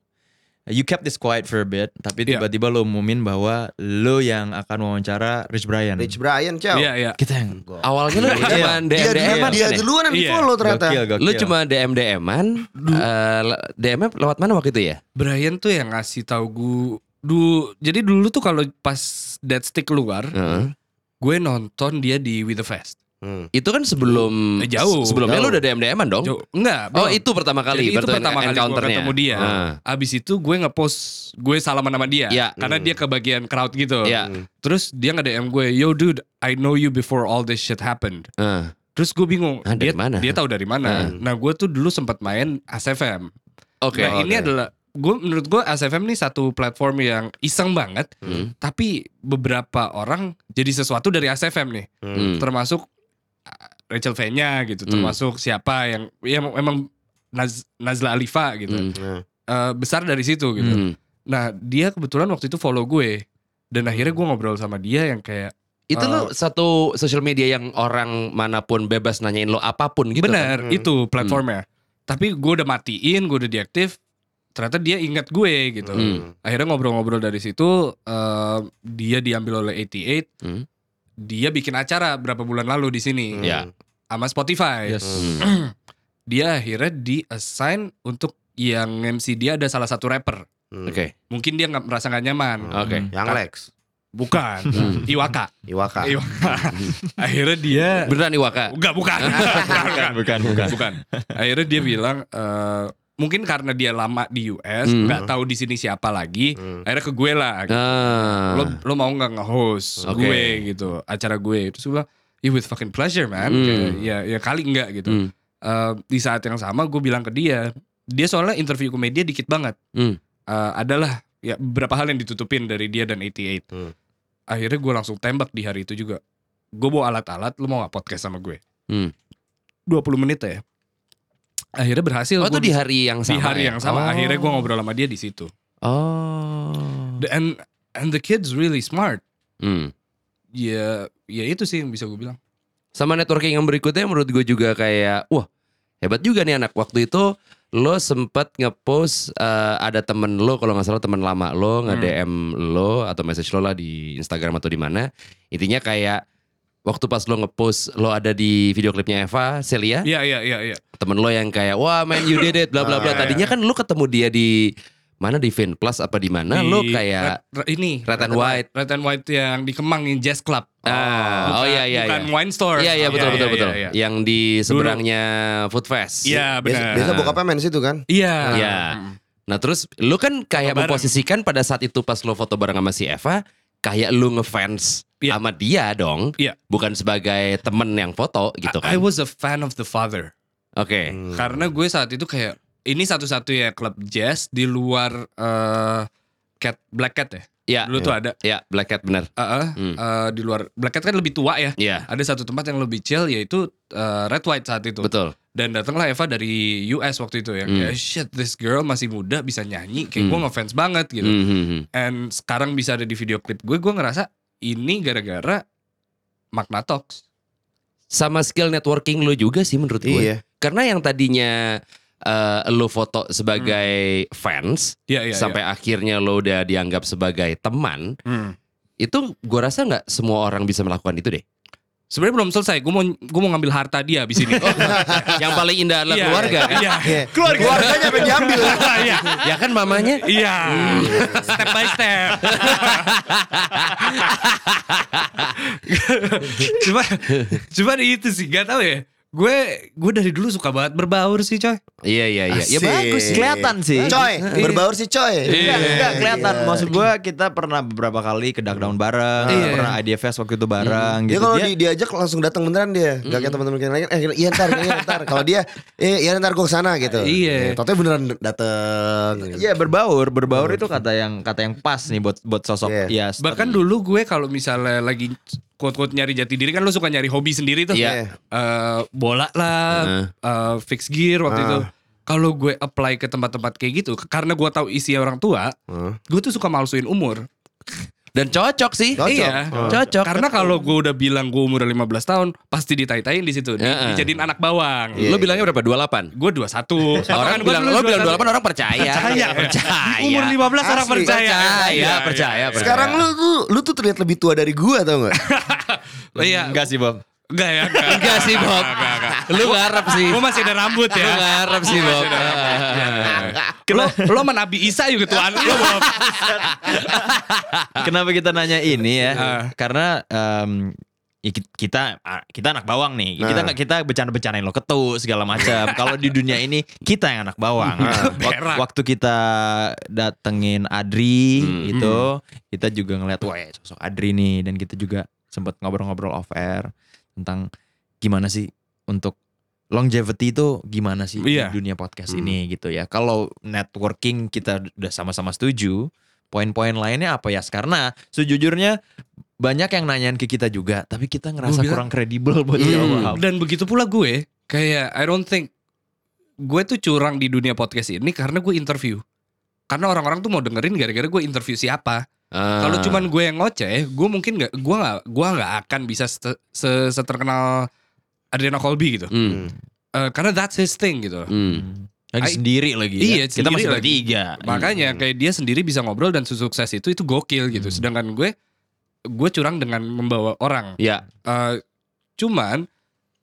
you kept this quiet for a bit tapi
Iya.
tiba-tiba lo umumin bahwa lo yang akan wawancara Rich Brian
Rich Brian
ya.
ciao
Iya, iya.
kita yang
Awalnya lu
Iya.
cuma
Dia,
DM-DM
dia, dia duluan yang di
Iya.
follow ternyata
Gokil, gokil.
Lu cuma DM-DM-an eh, le- DM -nya lewat mana waktu itu ya?
Brian tuh yang ngasih tahu gue du, jadi dulu tuh kalau pas Dead Stick keluar,
Heeh.
gue nonton dia di With the Fest.
Hmm.
Itu kan sebelum
Eh, jauh.
Sebelumnya lu
Jauh.
udah DM-DM-an dong?
Jo- enggak,
Oh
belum.
itu pertama
Jadi
kali
itu
berarti
pertama kali gue
encounter-nya.
ketemu dia.
Ah.
Abis itu gue ngepost gue salaman sama dia,
Iya.
karena dia kebagian crowd gitu.
Iya.
Terus dia nge DM gue, yo dude, I know you before all this shit happened.
Ah.
Terus gue bingung,
Ah, dari
dia
mana? Hmm.
dia tahu dari mana. Nah gue tuh dulu sempat main ACFM.
Oke.
nah ini
Oke.
adalah gue menurut gue ACFM nih satu platform yang iseng banget,
Hmm,
tapi beberapa orang jadi sesuatu dari ACFM nih,
Hmm.
termasuk uh, Rachel Fenya gitu,
Hmm.
termasuk siapa yang ya emang Naz- Nazla Alifa gitu.
Hmm.
Nah.
Eh, besar dari situ gitu.
Hmm. Hmm.
Nah dia kebetulan waktu itu follow gue dan akhirnya gue ngobrol sama dia yang kayak
Itu lo satu social media yang orang manapun bebas nanyain lo apapun gitu. kan?
Bener, itu platformnya. Tapi gue udah matiin, gue udah diaktif. Ternyata dia ingat gue gitu.
Hmm.
Akhirnya ngobrol-ngobrol dari situ, eh, dia diambil oleh 88.
Hmm.
Dia bikin acara berapa bulan lalu di sini
Ya.
sama
Hmm.
Spotify.
Yes.
Dia akhirnya di-assign untuk yang MC dia ada salah satu rapper.
Hmm.
Oke.
Mungkin dia nggak merasa nggak nyaman.
Oke.
Hmm.
Yang Lex,
Bukan,
Hmm.
Iwaka.
Iwaka.
Iwaka. akhirnya dia
Beneran nih Waka.
Enggak, bukan. bukan, bukan, bukan. Akhirnya dia bilang eh, mungkin karena dia lama di US,
Hmm.
nggak tahu di sini siapa lagi.
Hmm.
Akhirnya ke gue lah.
Ah.
Lo lo mau nggak nge-host
Oke.
gue gitu, acara gue. Terus gue bilang, "You with fucking pleasure, man."
Hmm.
Kayak, ya ya kali enggak gitu.
Hmm.
Eh, di saat yang sama gue bilang ke dia, dia soalnya interview komedia dikit banget.
Hmm.
Eh, adalah ya beberapa hal yang ditutupin dari dia dan 88.
Hmm.
Akhirnya gue langsung tembak di hari itu juga. Gue bawa alat-alat, lu mau gak podcast sama gue?
Hmm.
20 menit ya. Akhirnya berhasil.
Oh itu
gua
di hari yang
di
sama.
hari
ya?
yang sama.
Oh.
Akhirnya gue ngobrol sama dia di situ.
Oh.
The- And and the kids really smart.
Hmm.
Ya ya itu sih yang bisa gue bilang.
Sama networking yang berikutnya menurut gue juga kayak wah hebat juga nih anak waktu itu lo sempet ngepost eh, ada temen lo kalau nggak salah temen lama
Hmm.
lo nge DM lo atau message lo lah di Instagram atau di mana intinya kayak waktu pas lo ngepost lo ada di video klipnya Eva Celia
Iya iya iya iya.
temen lo yang kayak wah man you did it bla bla bla
Ah,
tadinya kan lo ketemu dia di mana di Vin Plus apa di mana
Di
lo Nah, kayak
Red- Red- ini
Red and White
Red and White yang di Kemang yang Jazz Club.
ah oh
Bukan-
iya iya
Bukan
iya.
wine store.
Iya iya betul
Iya,
betul
iya,
betul.
iya, iya.
Yang di seberangnya Food Fest.
Iya
Biasa,
benar.
biasa bokapnya main situ kan?
Iya.
Iya. Nah terus lu kan kayak
Foto bareng.
memposisikan pada saat itu pas lu foto bareng sama si Eva, kayak lu ngefans
Iya.
sama dia dong,
Iya.
bukan sebagai temen yang foto gitu
I, I
kan?
was a fan of the father.
Oke.
Hmm.
Karena gue saat itu kayak ini satu-satunya klub jazz di luar eh, Cat Black Cat ya.
Iya.
Dulu tuh ada
Ya Black Cat bener.
eh, eh,
Hmm.
eh, di luar Black Cat kan lebih tua ya.
Iya.
Ada satu tempat yang lebih chill yaitu eh, Red White saat itu.
Betul.
Dan datanglah Eva dari US waktu itu yang
Hmm.
kayak shit this girl masih muda bisa nyanyi kayak gue ngefans banget gitu.
Mhm.
And sekarang bisa ada di video klip gue gue ngerasa ini gara-gara Magna Talks.
Sama skill networking lu juga sih menurut gue.
Iya.
Karena yang tadinya eh, lu foto sebagai fans,
Iya iya.
sampai akhirnya lo udah dianggap sebagai teman,
iya. Hmm.
itu gue rasa nggak semua orang bisa melakukan itu deh.
Sebenarnya belum selesai. Gue mau gue mau ngambil harta dia abis ini. Oh,
Yang paling indah adalah
Iya,
keluarga kan?
Iya.
Iya.
Keluarga.
Keluarganya pengen diambil.
Iya.
ya kan mamanya
Iya.
Hmm.
Step by step. cuma cuma itu sih gak tau ya. Gue gue dari dulu suka banget berbaur sih coy.
Iya iya iya. Ya
Asik.
bagus.
Iya.
Kelihatan sih.
Coy, berbaur sih coy.
Iya, enggak kelihatan.
Iya.
Maksud gue kita pernah beberapa kali ke Duck Down bareng,
Iya.
pernah Idea Fest waktu itu bareng
Dia
gitu.
kalau
Dia-
di- diajak langsung datang beneran dia. Gak kayak teman-teman yang lain. Eh, iya ntar, iya ntar. Kalau dia, eh iya ntar gue kesana gitu.
Iya.
Ya, Totanya beneran dateng. gitu.
Iya berbaur, berbaur itu kata yang kata yang pas nih buat buat sosok
Iya.
ya.
Bahkan dulu gue kalau misalnya lagi quote-quote nyari jati diri kan lo suka nyari hobi sendiri tuh.
Iya.
Eh, bola lah, eh, fix gear waktu
Ah.
itu. Kalau gue apply ke tempat-tempat kayak gitu, karena gue tahu isi orang tua,
Hmm.
gue tuh suka malsuin umur.
Dan cocok sih.
Cocok.
Iya,
Hmm.
Cocok.
Karena kalau gue udah bilang gue umur 15 tahun, pasti ditai-taiin di situ, di-
Heeh.
dijadiin anak bawang.
Lo bilangnya berapa? 28.
Gue 21.
Orang bilang lo bilang 28 orang percaya.
Percaya. Iya,
percaya.
Umur 15 orang
Asli,
percaya.
Percaya, percaya, percaya.
Sekarang lu tuh, lu tuh terlihat lebih tua dari gua tau gak?
Iya.
enggak sih Bob.
Enggak ya. Enggak,
enggak sih Bob. Lu ngarep sih.
Gue masih ada rambut
Lu
ya.
ngarep sih Bob. Eh.
Lo, lo menabi Isa yuk ketuaan lo Bob.
Kenapa kita nanya ini ya?
Ah.
Karena em, ya ki- kita ah, kita anak bawang nih. Kita
Ah.
Nah.
nggak kita bercanda-bercandain lo ketu segala macam. Kalau di dunia ini kita yang anak bawang. Wak-
Ah. Berak.
Waktu kita datengin Adri
Hmm.
gitu, kita juga ngeliat wah ya, sosok Adri nih dan kita juga sempat ngobrol-ngobrol off air tentang gimana sih untuk longevity itu gimana sih
Iya.
di dunia podcast ini gitu ya. Kalau networking kita udah sama-sama setuju, poin-poin lainnya apa ya? Karena sejujurnya banyak yang nanyain ke kita juga, tapi kita ngerasa
Gua bilang-
kurang kredibel buat
Hmm.
jawab.
Dan begitu pula gue kayak I don't think gue tuh curang di dunia podcast ini karena gue interview. Karena orang-orang tuh mau dengerin gara-gara gue interview siapa.
Ah.
Kalau cuman gue yang ngoceh, gue mungkin nggak, gue nggak, gue nggak akan bisa se- se- seterkenal Adriano Colby gitu.
Hmm,
Eh, karena that's his thing gitu.
hmm.
Lagi
I-
sendiri lagi. ya.
Iya,
kita
sendiri
masih
lagi.
bertiga.
Makanya kayak dia sendiri bisa ngobrol dan sukses itu itu gokil gitu. Sedangkan gue, gue curang dengan membawa orang.
Ya.
Eh, cuman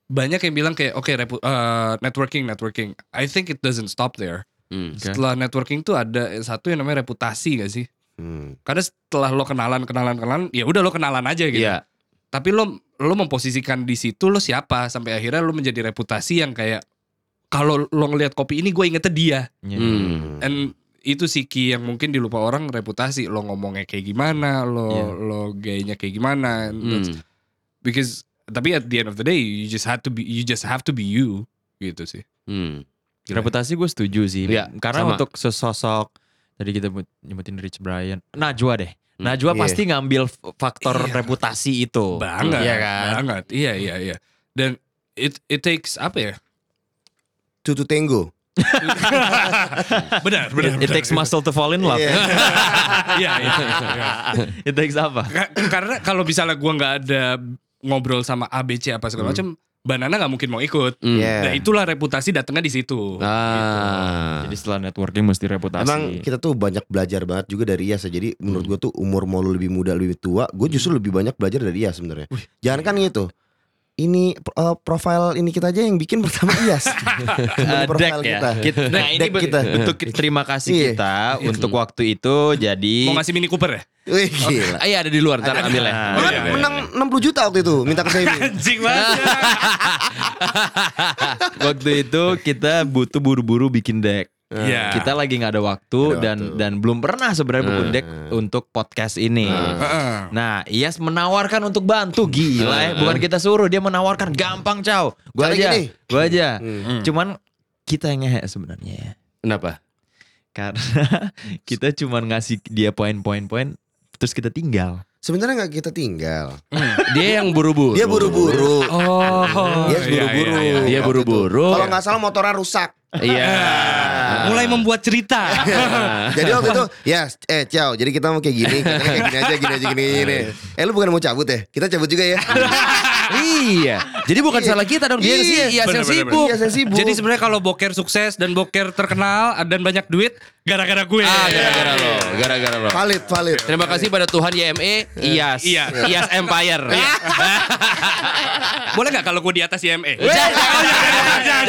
banyak yang bilang kayak oke repu- eh, networking networking. I think it doesn't stop there.
Hmm.
Oke.
Setelah networking tuh ada satu yang namanya reputasi gak sih?
Hmm.
Karena setelah lo kenalan kenalan kenalan, ya udah lo kenalan aja gitu.
Iya.
Tapi lo lo memposisikan di situ lo siapa sampai akhirnya lo menjadi reputasi yang kayak kalau lo ngelihat kopi ini gue ingetnya dia.
Iya.
Hmm.
And itu sih key yang mungkin dilupa orang reputasi lo ngomongnya kayak gimana, lo
Iya.
lo gayanya kayak gimana. And that's-
Hmm.
Because tapi at the end of the day you just had to be you just have to be you gitu sih.
Hmm.
Gila.
Reputasi gue setuju sih.
Iya,
Karena
sama.
untuk sesosok tadi kita nyebut- nyebutin Rich Brian, Najwa deh.
Hmm.
Najwa
Iya.
pasti ngambil f- faktor
Iya.
reputasi
Oh.
itu.
Banget,
Iya kan?
banget. Iya iya iya. Dan it it takes apa ya?
Tutu Tenggo.
benar benar.
It, it takes muscle to fall in love.
Iya.
Iya iya. iya.
it takes apa?
Ka- Karena kalau misalnya gua nggak ada ngobrol sama ABC apa segala macam, banana nggak mungkin mau ikut.
Hmm.
Iya.
Nah itulah reputasi datangnya di situ.
Nah, Ah.
Jadi setelah networking mesti reputasi.
Emang kita tuh banyak belajar banget juga dari Yas ya. Jadi
Hmm.
menurut gue tuh umur mau lu lebih muda lebih tua, gue justru lebih banyak belajar dari Yas sebenarnya. Jangan kan gitu. Ini eh, profile ini kita aja yang bikin pertama Yas.
Eh,
Ini
deck
profile
ya.
kita.
Kita- Nah ini
Deck
ben-
kita.
bentuk terima kasih
Iya.
kita untuk waktu itu. Jadi
Mau ngasih mini Cooper ya?
Wih gila.
Ah, iya ada di luar ntar ambil ya.
Ah,
Bahkan
iya, iya,
menang 60 juta waktu itu minta ke saya ini.
Anjing
Iya.
banget.
waktu itu kita butuh buru-buru bikin deck.
Iya.
Kita lagi nggak ada waktu
Nggak ada
dan
waktu. Nah.
dan belum pernah sebenarnya bikin
Hmm.
deck untuk podcast ini.
Heeh.
Nah, Iyas menawarkan untuk bantu gila ya. Bukan kita suruh, dia menawarkan gampang cow. Gua
Nah. Cara
aja,
gini.
gua aja.
Hmm.
Cuman kita yang ngehe sebenarnya ya.
Kenapa?
Karena kita cuman ngasih dia poin-poin-poin terus kita tinggal.
Sebenarnya nggak kita tinggal.
Hmm. Dia yang buru-buru.
Dia buru-buru.
Oh,
Dia buru-buru.
iya, iya,
Dia
Waktu
buru-buru.
itu. Kalau nggak salah motornya rusak.
Iya.
Mulai membuat cerita.
Jadi waktu itu ya eh ciao. Jadi kita mau kayak gini, katanya kayak gini aja, gini aja, gini
Iya,
gini. Eh lu bukan mau cabut ya? Kita cabut juga ya.
iya. Jadi bukan
Iya.
salah kita dong. Dia
Iya,
sih iya
bener,
yang
bener,
sibuk.
Iya, saya sibuk.
Jadi sebenarnya kalau boker sukses dan boker terkenal dan banyak duit gara-gara gue.
Ah, gara-gara lo, gara-gara lo.
valid, valid.
Terima kasih pada Tuhan YME, IAS,
Iya.
IAS Empire.
Boleh nggak kalau gue di atas E? IME?
Jangan, jangan, jangan, jangan,